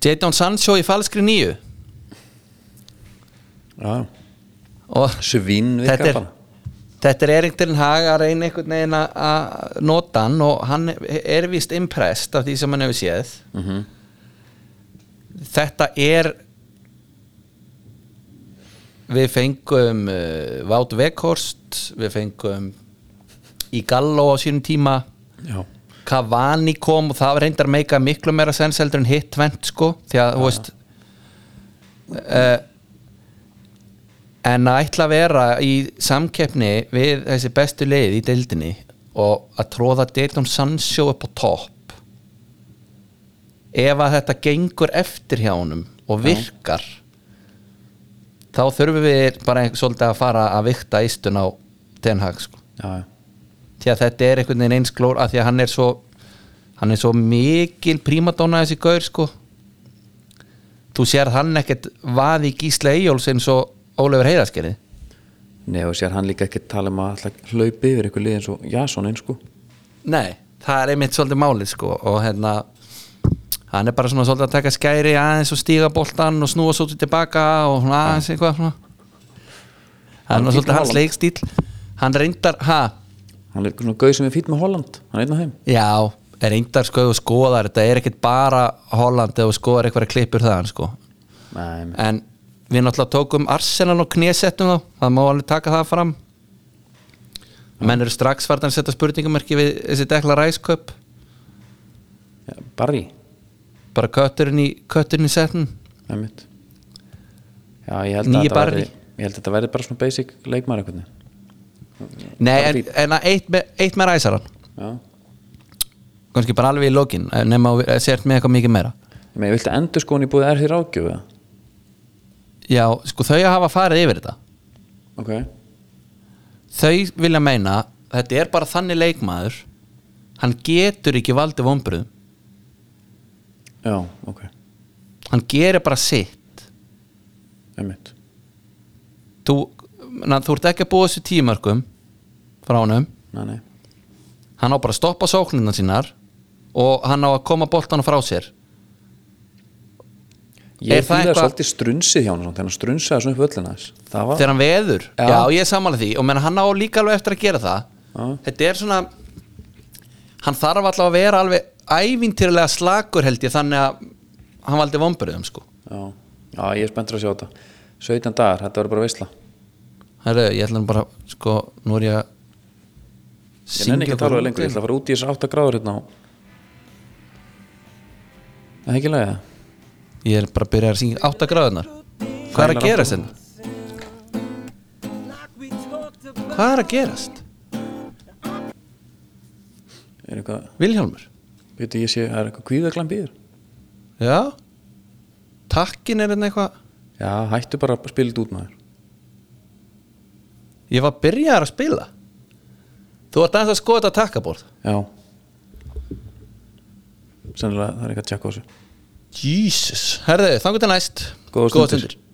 Speaker 2: Jadon Sancho í falskri nýju
Speaker 1: já,
Speaker 2: og
Speaker 1: svinn við
Speaker 2: þetta er,
Speaker 1: kappana
Speaker 2: þetta er Erik Dylan Hag að reyna einhvern veginn að- að nota hann og hann er vist impressed af því sem hann hefur séð
Speaker 1: Mhm.
Speaker 2: þetta er við fengum uh, Vátt Vekhorst við fengum í Gallo á sínum tíma
Speaker 1: já,
Speaker 2: Cavani kom og það reyndar meika miklu meira sens heldur en hitt tvent sko því að, þú veist uh, en að ætla að vera í samkeppni við þessi bestu leið í deildinni og að tróða Deildon Sancho upp á topp ef að þetta gengur eftir hjá honum og virkar þá þurfum við bara ein- svolítið að fara að vikta ístun á Den Hag sko
Speaker 1: já, já,
Speaker 2: því að þetta er einhvern veginn eins glór að því að hann er svo hann er svo mikil prímadonna þessi gaur sko þú sér hann ekkert vaði í Gísla Eyjóls eins og Ólefur Heiðaskerði
Speaker 1: nei og sér hann líka ekki tala um að alltaf hlaupi yfir eitthvað lið eins og Jasonin sko
Speaker 2: nei, það er einmitt svolítið málið sko og hérna hann er bara svona svolítið að taka skæri aðeins og stíga boltan og snúa svolítið tilbaka og svona aðeins eitthvað svona
Speaker 1: Hann er fínn
Speaker 2: hann er svolítið hans
Speaker 1: Holland.
Speaker 2: leikstíl hann reyndar, ha,
Speaker 1: hann er svona gauð sem er fýtt með Holland hann er einn af þeim
Speaker 2: Já, er reyndar sko ef þú skoðar, þetta er ekkert bara Holland ef þú skoðar eitthvað klippur þaðan sko
Speaker 1: nei, nei.
Speaker 2: en við náttúrulega tókum Arsenal og knésettum þá, það má alveg taka það fram menn eru strax farðan að setja spurningamarki við þessi dekla ræsköp
Speaker 1: Ja, Barry,
Speaker 2: bara kötturinn í, kötturinn í setnum
Speaker 1: það er mitt já, ég held, að
Speaker 2: Nýi
Speaker 1: þetta
Speaker 2: Barry.
Speaker 1: verði- ég held að þetta verði bara svona basic leikmar einhvern veginn
Speaker 2: Nei,
Speaker 1: Bara
Speaker 2: en, en að eitt, með, eitt með ræsaran
Speaker 1: já
Speaker 2: kannski bara alveg í lokin nema að þú sért með eitthvað mikið meira
Speaker 1: Ég meina, viltu endur sko í búið erfið ráðgjöfu? eða?
Speaker 2: Já, sko þau hafa farið yfir þetta
Speaker 1: Ok.
Speaker 2: þau vilja meina þetta er bara þannig leikmaður hann getur ekki valdið vombriðum
Speaker 1: Já, ok.
Speaker 2: hann gerir bara sitt
Speaker 1: Einmitt.
Speaker 2: þú, na, þú ert ekki að búa þessu tímarkum frá honum
Speaker 1: Nei, nei.
Speaker 2: hann á bara að stoppa sóknirna sínar og hann á að koma boltan frá sér
Speaker 1: Ég
Speaker 2: Er það
Speaker 1: fýla
Speaker 2: eitthvað-
Speaker 1: svolítið strunsið hjá hann svona, þegar hann strunsaði svona upp völlina þess. Það var...
Speaker 2: þegar hann veður,
Speaker 1: Já.
Speaker 2: já, ég er samanlega því og menn hann á líka alveg eftir að gera það
Speaker 1: Já.
Speaker 2: þetta er svona hann þarf allavega að vera alveg ævintýrlega slakur held ég þannig að hann valdi vombriðum sko
Speaker 1: Já. Já, ég er spenntur að sjá þetta. 17 dagar, þetta verður bara veisla.
Speaker 2: Herru, ég ætla nú bara, sko, nú er ég að
Speaker 1: Ég nenni ekki að tala við lengur, ég ætla að fara út í þessu 8 gráður hérna á... Það er ekki lagið það.
Speaker 2: Ég er bara að byrja að syngja 8 gráðunar Hvað er að
Speaker 1: Sælar
Speaker 2: gerast hérna? Hvað er að gerast?
Speaker 1: Er eitthvað...
Speaker 2: Vilhjálmur?
Speaker 1: Veitu, ég sé, það er eitthvað kvíðaglam býður.
Speaker 2: Já Takkin er hérna eitthvað
Speaker 1: Já, hættu bara að spila þetta út maður.
Speaker 2: Ég var að byrja að spila Þú ert aðeins að skoða þetta takkaborð
Speaker 1: Já. Sennilega, það er eitthvað að tjekka á þessu.
Speaker 2: Jesus Herðu, þangur til næst
Speaker 1: Góðar stundir.